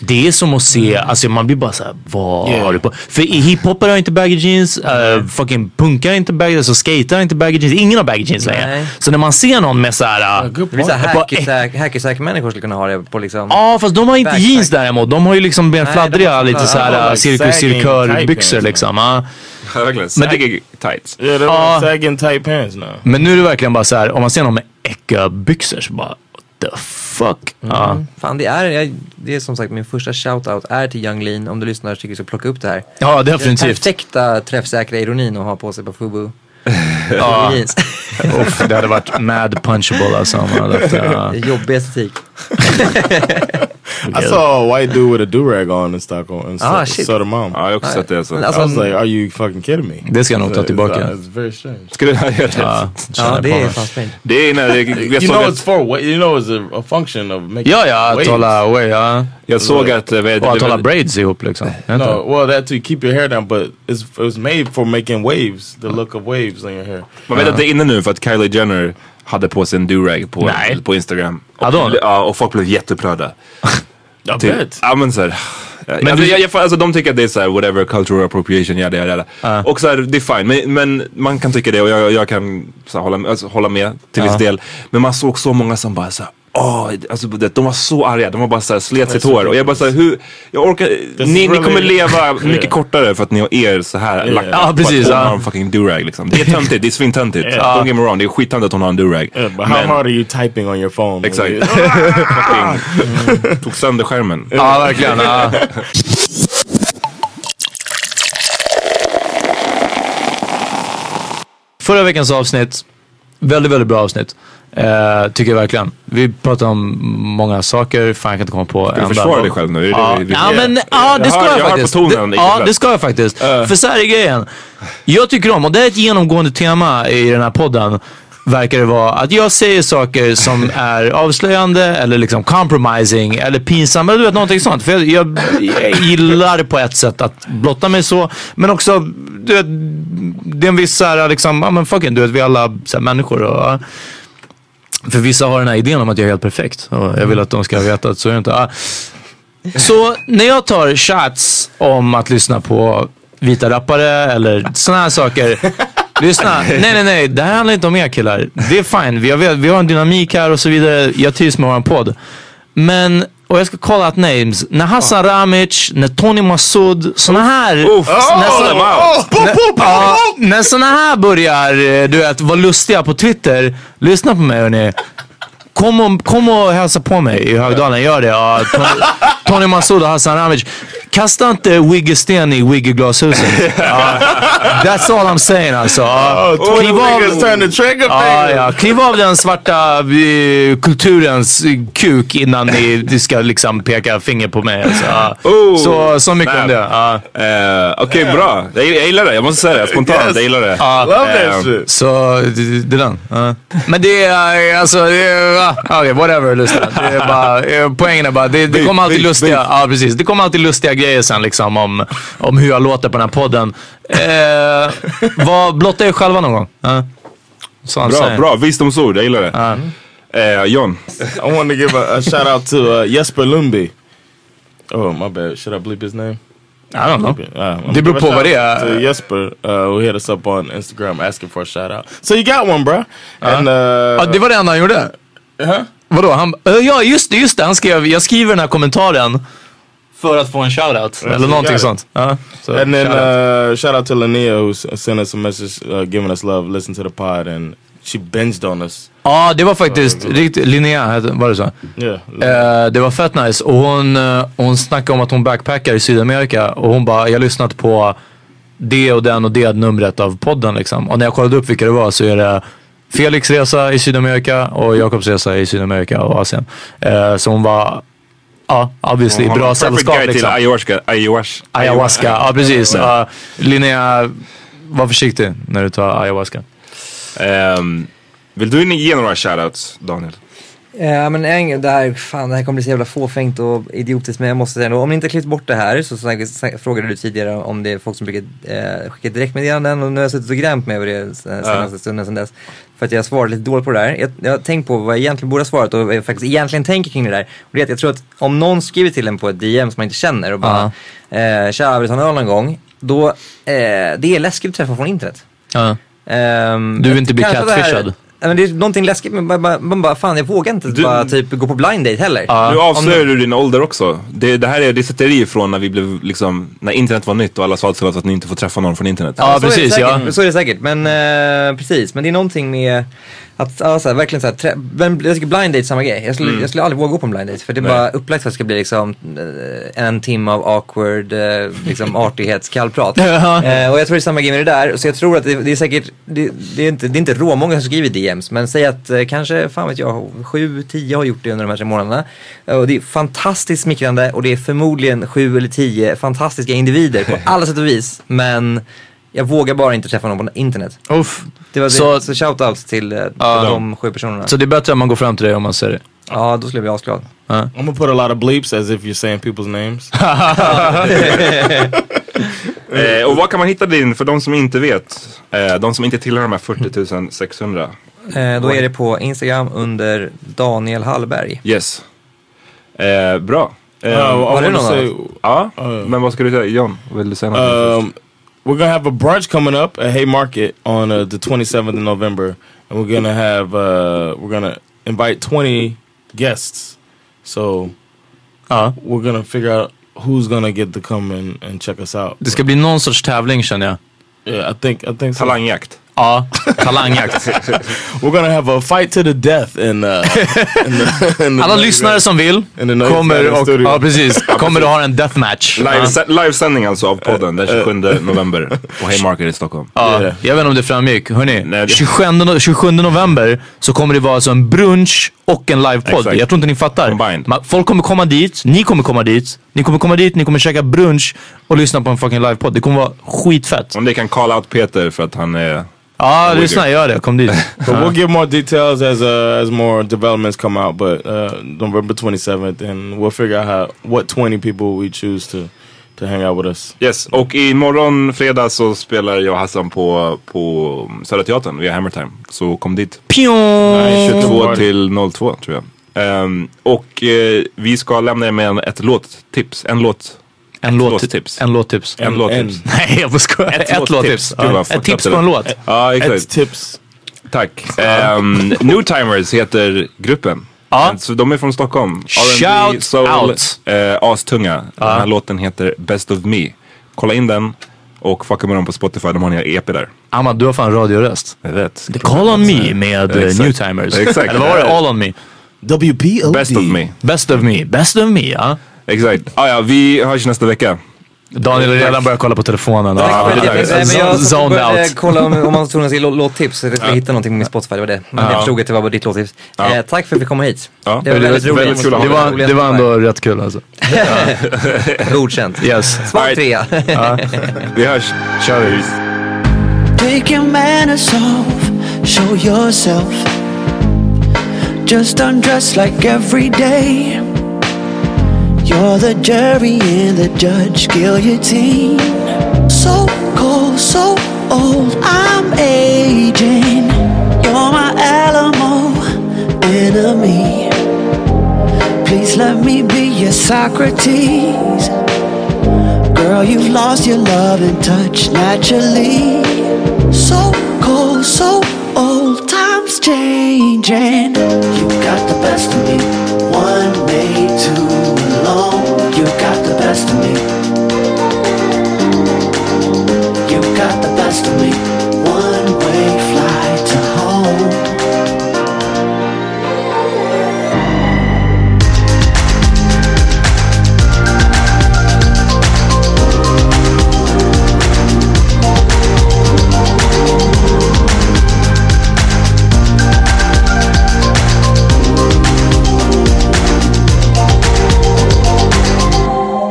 E: Det är som att se, alltså man blir bara såhär, vad
A: Yeah.
E: har du på? För i- hiphopare har inte baggy jeans, eh, fucking punkare har inte baggy jeans, alltså skater har inte baggy jeans, ingen har baggy jeans längre.
B: Nej.
E: Så när man ser någon med såhär... eh,
B: Det blir såhär
E: ett par
B: hackersack- hackersack-människor skulle kunna ha det på liksom...
E: Ja, fast de har inte
B: Backpack.
E: jeans däremot. De har ju liksom ben
B: Nej,
E: fladdriga,
B: de har-
E: lite
B: de har
E: såhär
B: like
E: cirkus
B: sagging
E: cirkör
B: tight
E: byxor
B: pants,
E: liksom. ja.
D: verkligen,
E: Men det-
D: saggy tights.
A: Yeah, they were
B: Uh,
E: Ah.
A: sagging tight pants now.
E: Men nu är det verkligen bara så här, om man ser någon med äcka byxor så bara, what the fuck.
A: Mm.
E: Ja.
B: Mm. Fan, det är, jag, det är som sagt min första shout-out är till Yung Lean. Om du lyssnar tycker jag ska plocka upp det här.
E: Ja, definitivt.
B: Den perfekta träffsäkra ironin att ha på sig på Fubu.
E: Ja.
B: Jeans.
E: Uff, det hade varit mad punchable alltså. om man hade haft det. Ja.
B: Det är Jobbig estetik.
A: I saw a white dude with a do rag on in Stockholm and
B: Ah,
A: ah,
B: shit.
A: so did mom.
D: Ja, jag har också sett det, alltså.
A: I was like, are you fucking kidding me?
E: Det ska jag nog
A: It's-
E: ta
A: it's-
E: tillbaka.
A: It's very strange.
D: Ska du göra det?
B: Uh,
E: Ja,
A: Ja, det är fan
B: fint.
D: Det är när det, jag
A: you
D: såg
A: know
D: att,
A: it's for weight. You know it's a, a function of making.
E: Ja, ja, att
A: waves.
E: hålla away. Ja.
D: Jag såg att, eh, vad heter
E: Och att
D: det?
E: hålla braids ihop liksom. Jag vet
A: No,
E: inte.
A: well, that too. Keep your hair down, but it's, it was made for making waves. The look of waves on your hair. Uh-huh.
D: man vet att det är inne nu för att Kylie Jenner hade på sig en durag på, på Instagram. Och, ja, och folk blev jätteupprörda.
A: Jag
D: Typ-
A: vet.
D: Ja men såhär. Men alltså, jag, jag, alltså, de tycker att det är såhär, whatever, cultural appropriation, jada jada jada. Och såhär, det är fine. Men, men man kan tycka det och jag, jag kan så här, hålla, alltså, hålla med till viss
A: Ja.
D: del. Men man såg så många som bara såhär, åh, alltså, det- de var så arga. De var bara såhär, slet
A: Det är
D: sitt
A: så
D: hår. Och jag bara såhär, hur, jag orkar,
A: is
D: ni, ni
A: really-
D: kommer leva
A: Yeah.
D: mycket kortare för att ni har er så här
A: Yeah.
D: lagt
A: Ja,
D: på
A: precis,
D: att hon
A: ja.
D: har en fucking durag liksom. Det är töntigt, det är svintöntigt.
A: Yeah.
D: Don't get me wrong, det är skittöntigt att hon har en durag.
A: Yeah, but how hard are you typing on your phone?
D: Exakt.
E: Ah!
D: Fucking Tog sönder skärmen.
E: Ja, verkligen, ja. Förra veckans avsnitt, väldigt, väldigt bra avsnitt. Eh, tycker jag verkligen. Vi pratade om många saker, fan jag kan inte komma på
D: Ska du försvara dig själv nu? Är det
E: Ja,
D: det vi-
E: ja,
D: vi-
E: men ja, det
D: Jag
E: ska
D: hör-
E: jag,
D: jag hör på
E: faktiskt.
D: tonen,
E: det,
D: Ike
E: ja,
D: Black.
E: det ska jag faktiskt. För så här är grejen. Jag tycker om, och det här är ett genomgående tema i den här podden. verkar det vara att jag säger saker som är avslöjande eller liksom compromising eller pinsamma. Du vet, någonting sånt. För jag, jag, jag gillar på ett sätt att blotta mig så. Men också, du vet, det är en viss så här, liksom, ja men fucking, du vet, vi är alla så här, människor. Och, ja. för vissa har den här idén om att jag är helt perfekt. Och jag vill att de ska veta att så är det inte. Ah. Så när jag tar chats om att lyssna på vita rappare eller sådana här saker. Lyssna, nej nej nej, det här handlar inte om er killar. Det är fine, vi har, vi har en dynamik här och så vidare. Jag trivs med vår podd. Men, och jag ska kolla att names. När Hassan Ramic, när Tony Massoud, sådana här. när
C: Oh,
E: såna-
C: them out.
E: när- ja, När såna här börjar, eh, du vet, vara lustiga på Twitter. Lyssna på mig hörni. Kom och, kom och hälsa på mig i Högdalen, gör det. Ja, Tony, Tony Massoud och Hassan Ramic. Kasta inte Wiggesten i Wigge-glashusen. Ja, that's all I'm saying alltså. Ja,
I: Oh, Tony Wiggers turned the trigger
E: ja,
I: finger.
E: ja, kliv av den svarta eh, kulturens eh, kuk innan ni, ni ska liksom peka finger på mig. Alltså. Ja. så, så mycket om det.
D: Oh, Eh, Okej, bra. Jag, jag gillar det. Jag måste säga det spontant.
E: Yes.
D: Jag gillar det.
E: Ja.
D: Eh,
E: Så det det är den. Ja. Men det är eh, alltså, det är, ah, okej, whatever. Lyssna. Det är bara, eh, poängen är bara, det, det kommer alltid lustiga, ja, precis. Det kommer alltid lustiga grejer sen liksom om, om hur jag låter på den här podden. Eh, vad, blotta er själva någon gång. Ja. Så han
D: Bra,
E: säger.
D: bra. Visdomsord. Jag gillar det.
E: Uh-huh.
D: Eh, John.
I: I want to give a, a shout out to uh, Jesper Lumby. Oh, my bad. Should I bleep his name?
E: I don't know.
I: Uh,
E: Det beror på vad det är.
I: To Jesper, uh, who hit us up on Instagram asking for a shout out. So you got one, bro.
E: Uh-huh.
I: And, uh,
E: Ja, det var det enda han gjorde. Vadå? Han, eh, ja, just det, just det. Han skrev, jag skriver den här kommentaren för att få en shoutout.
I: Yeah,
E: Eller
I: so you got
E: någonting
I: it.
E: sånt. Ja, så
I: and then
E: shoutout.
I: uh, shout out to Linnea who s- sent us a message, uh, giving us love, listened to the pod, and she binged on us.
E: Ja, det var faktiskt riktigt, Linnea hette- var det så?
I: Yeah.
E: Eh, det var fett nice och hon, eh, hon snackade om att hon backpackar i Sydamerika och hon bara, jag har lyssnat på det och den och det numret av podden liksom. Och när jag kollade upp vilka det var så är det Felix resa i Sydamerika och Jakobs resa i Sydamerika och Asien. Eh, så hon var, ja, obviously
D: Hon har
E: bra
D: en perfect
E: sällskap
D: guy till
E: liksom.
D: Ayahuasca. Ayahuasca.
E: Ayahuasca, ja precis.
D: Ja.
E: Ja, Linnea, var försiktig när du tar ayahuasca.
D: Ehm, vill du ge några shoutouts, Daniel?
B: Eh, Ja, men en, det, här, fan, det här kommer bli så jävla fåfängt och idiotiskt men jag måste säga ändå, om ni inte har klippt bort det här så snack, snack, frågade du tidigare om det är folk som brukar eh, skicka direktmeddelanden och nu har jag suttit och grämt mig över det sen- senaste
L: Ja.
B: stunden sedan dess. För att jag svarade lite dåligt på det där. Jag, jag har tänkt på vad jag egentligen borde ha svarat och vad jag faktiskt egentligen tänker kring det där. Och det är att jag tror att om någon skriver till en på ett DM som man inte känner och bara eh, “Tja, vill du ta en öl någon gång?” då, eh, det är läskigt att träffa från internet. Ehm,
E: Du vill inte bli
B: kanske det här-
E: catfishad?
B: Ja, men det är någonting läskigt med man, man, man bara, fan jag vågar inte bara typ gå på blind date heller.
D: Nu avslöjar
B: Om-
D: du din ålder också. Det, det här är disetteri från när vi blev liksom, när internet var nytt och alla sa till oss att ni inte får träffa någon från internet.
B: så är det säkert, Så är det säkert, men eh, precis. Men det är någonting med att, ja, så här, verkligen så här, trä- men jag tycker blind date är samma grej. Jag skulle,
L: Mm.
B: jag skulle aldrig våga gå på en blind date för det är
L: Nej.
B: bara upplagt för att det ska bli liksom eh, en timme av awkward, eh, liksom artighetskallprat. Eh, och jag tror det är samma grej med det där. Så jag tror att det, det är säkert, det, det, är inte, det är inte råmånga som skriver DMs, men säg att eh, kanske, fan vet jag, sju, tio har gjort det under de här tre månaderna. Eh, och det är fantastiskt smickrande och det är förmodligen sju eller tio fantastiska individer på alla sätt och vis. Men jag vågar bara inte träffa någon på internet.
E: Uff.
B: Det var det. Så,
E: Så-
B: shout-out till, eh, till de sju personerna.
E: Så det är bättre att man går fram till dig om man säger det?
B: Ja, då skulle jag bli asglad.
I: I'm gonna put a lot of bleeps as if you're saying people's names.
D: Eh, och var kan man hitta din, för de som inte vet, eh, de som inte tillhör de här 40 600?
B: Eh, då är det på Instagram under Daniel Hallberg.
D: Yes. Eh, bra. Eh,
B: Ja, och I Var det wanna någon say-
D: annan? Ja, men vad ska du säga? John, vill du säga något?
I: Um, we're gonna have a brunch coming up at Haymarket on uh, the 27th of November, and we're gonna have uh, we're gonna invite 20 guests. So we're gonna figure out who's gonna get to come and, and check us out.
E: Det ska bli någon sorts tävling känner jag.
I: Yeah, I think I think so.
D: Talangjakt.
E: Ja, talangjakt.
I: we're gonna have a fight to the death in, uh, in the, in the
E: Alla lyssnare som vill
I: in the Nuggets
E: kommer och,
I: studio.
E: ja, precis, kommer att ha en deathmatch.
D: Live,
E: Ja. Eh.
D: livesändning alltså av podden den 27 november på Haymarket i Stockholm.
E: Ja, jag vet inte om det framgick. Hörrni, 27, no- 27 november så kommer det vara alltså en brunch och en livepodd.
D: Exakt.
E: Jag tror inte ni fattar. Man, folk kommer komma dit, ni kommer komma dit, ni kommer komma dit, ni kommer käka brunch och lyssna på en fucking livepodd. Det kommer vara skitfett.
D: Om det kan call out Peter för att han är
E: Ja, lyssna, gör det. Kom dit.
I: But we'll give more details as uh, as more developments come out. But uh, November 27th, and we'll figure out how what 20 people we choose to to hang out with us.
D: Yes, och imorgon fredag så spelar jag och Hassan på, på Södra Teatern via Hammer Time. Så kom dit. Nej, 22 till 02 tror jag. Ehm, och eh, vi ska lämna er med en, ett låttips. En låt.
E: En
D: ett
E: låt, en låttips.
D: En låttips.
E: Nej, jag bara skojar. Ett, låttips.
D: Gud,
E: Ja.
D: vad
E: Ett
D: fucked
E: tips
D: up
E: på
D: det
E: en
D: där.
E: låt.
D: Ja, exakt.
E: Ett
I: tips.
D: Tack. Ehm, New Timers heter gruppen. Ja. Så de är från Stockholm.
E: Shout
D: soul,
E: out.
D: eh, astunga. Den här låten heter Best of Me. Kolla in den och fucka med dem på Spotify. De har en hel EP där.
E: Amma, du har fan radioröst.
D: Jag vet.
E: The Call On Me med eh,
D: Exakt.
E: Newtimers.
D: Exakt.
E: Eller vad var det? All On Me? WPOD.
D: Best of me.
E: Best of me. Best of me, ja.
D: Exakt. Ah, ja, vi hörs nästa vecka.
E: Daniel har redan börjat kolla på telefonen. Ja,
B: Nej, men jag satt och
E: Zoned
B: började
E: out.
B: kolla om, om man tog något låt- låttips. Jag skulle hitta någonting på min Spotify, det var det. Men
E: Ja.
B: jag förstod att det var ditt låttips.
E: Ja.
B: Eh, tack för att vi kom hit.
E: Det var väldigt kul. Det var, det var ändå rätt kul alltså.
B: Godkänt.
E: Yes.
B: Svag trea.
E: Ja.
D: Vi hörs.
E: Kör vi.
C: Take your manners off, show yourself. Just undress like every day. You're the jury and the judge, guillotine. So cold, so old, I'm aging. You're my Alamo enemy. Please let me be your Socrates. Girl, you've lost your love and touch naturally. So cold, so old, times changing. You got the best of me. One way too long. You got the best of me. You got the best of me. One way flight to home.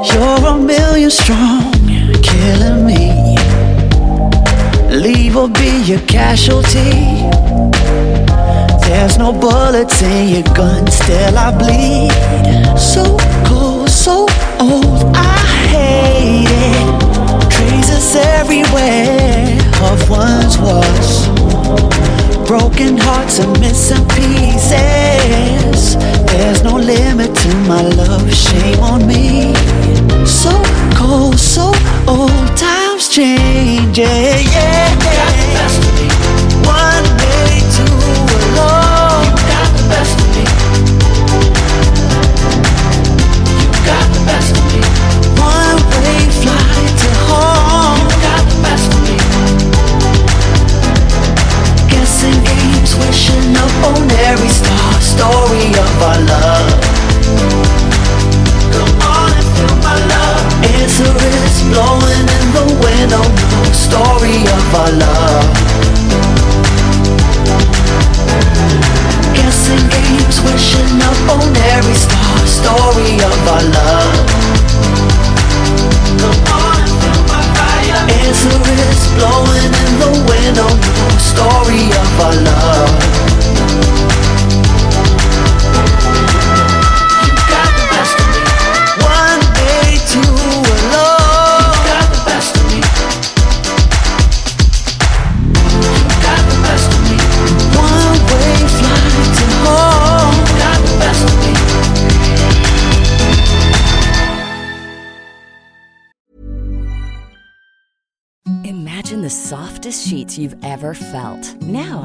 C: You're a million strong, killing me. Leave or be your casualty. There's no bullets in your gun, still I bleed. So cold, so old, I hate it. Traces everywhere of once was. Broken hearts and missing pieces. There's no limit to my love, shame on me. So cold, so old, times change. Yeah, yeah. One day too long. You got the best of me. You got the best of me. One way flight to home. You got the best of me. Guessing games, wishing upon every star. Story of our love. Come on and feel my love. Answer is blowing in the wind. Oh no, story of our love. Guessing games, wishing upon every star. Story of our love. Come on and feel my fire. Answer is blowing in the wind. Oh no, story of our love. One day to alone. You got the best of me. You got the best of me. One way flight to home. You got the best of me.
G: Imagine the softest sheets you've ever felt. Now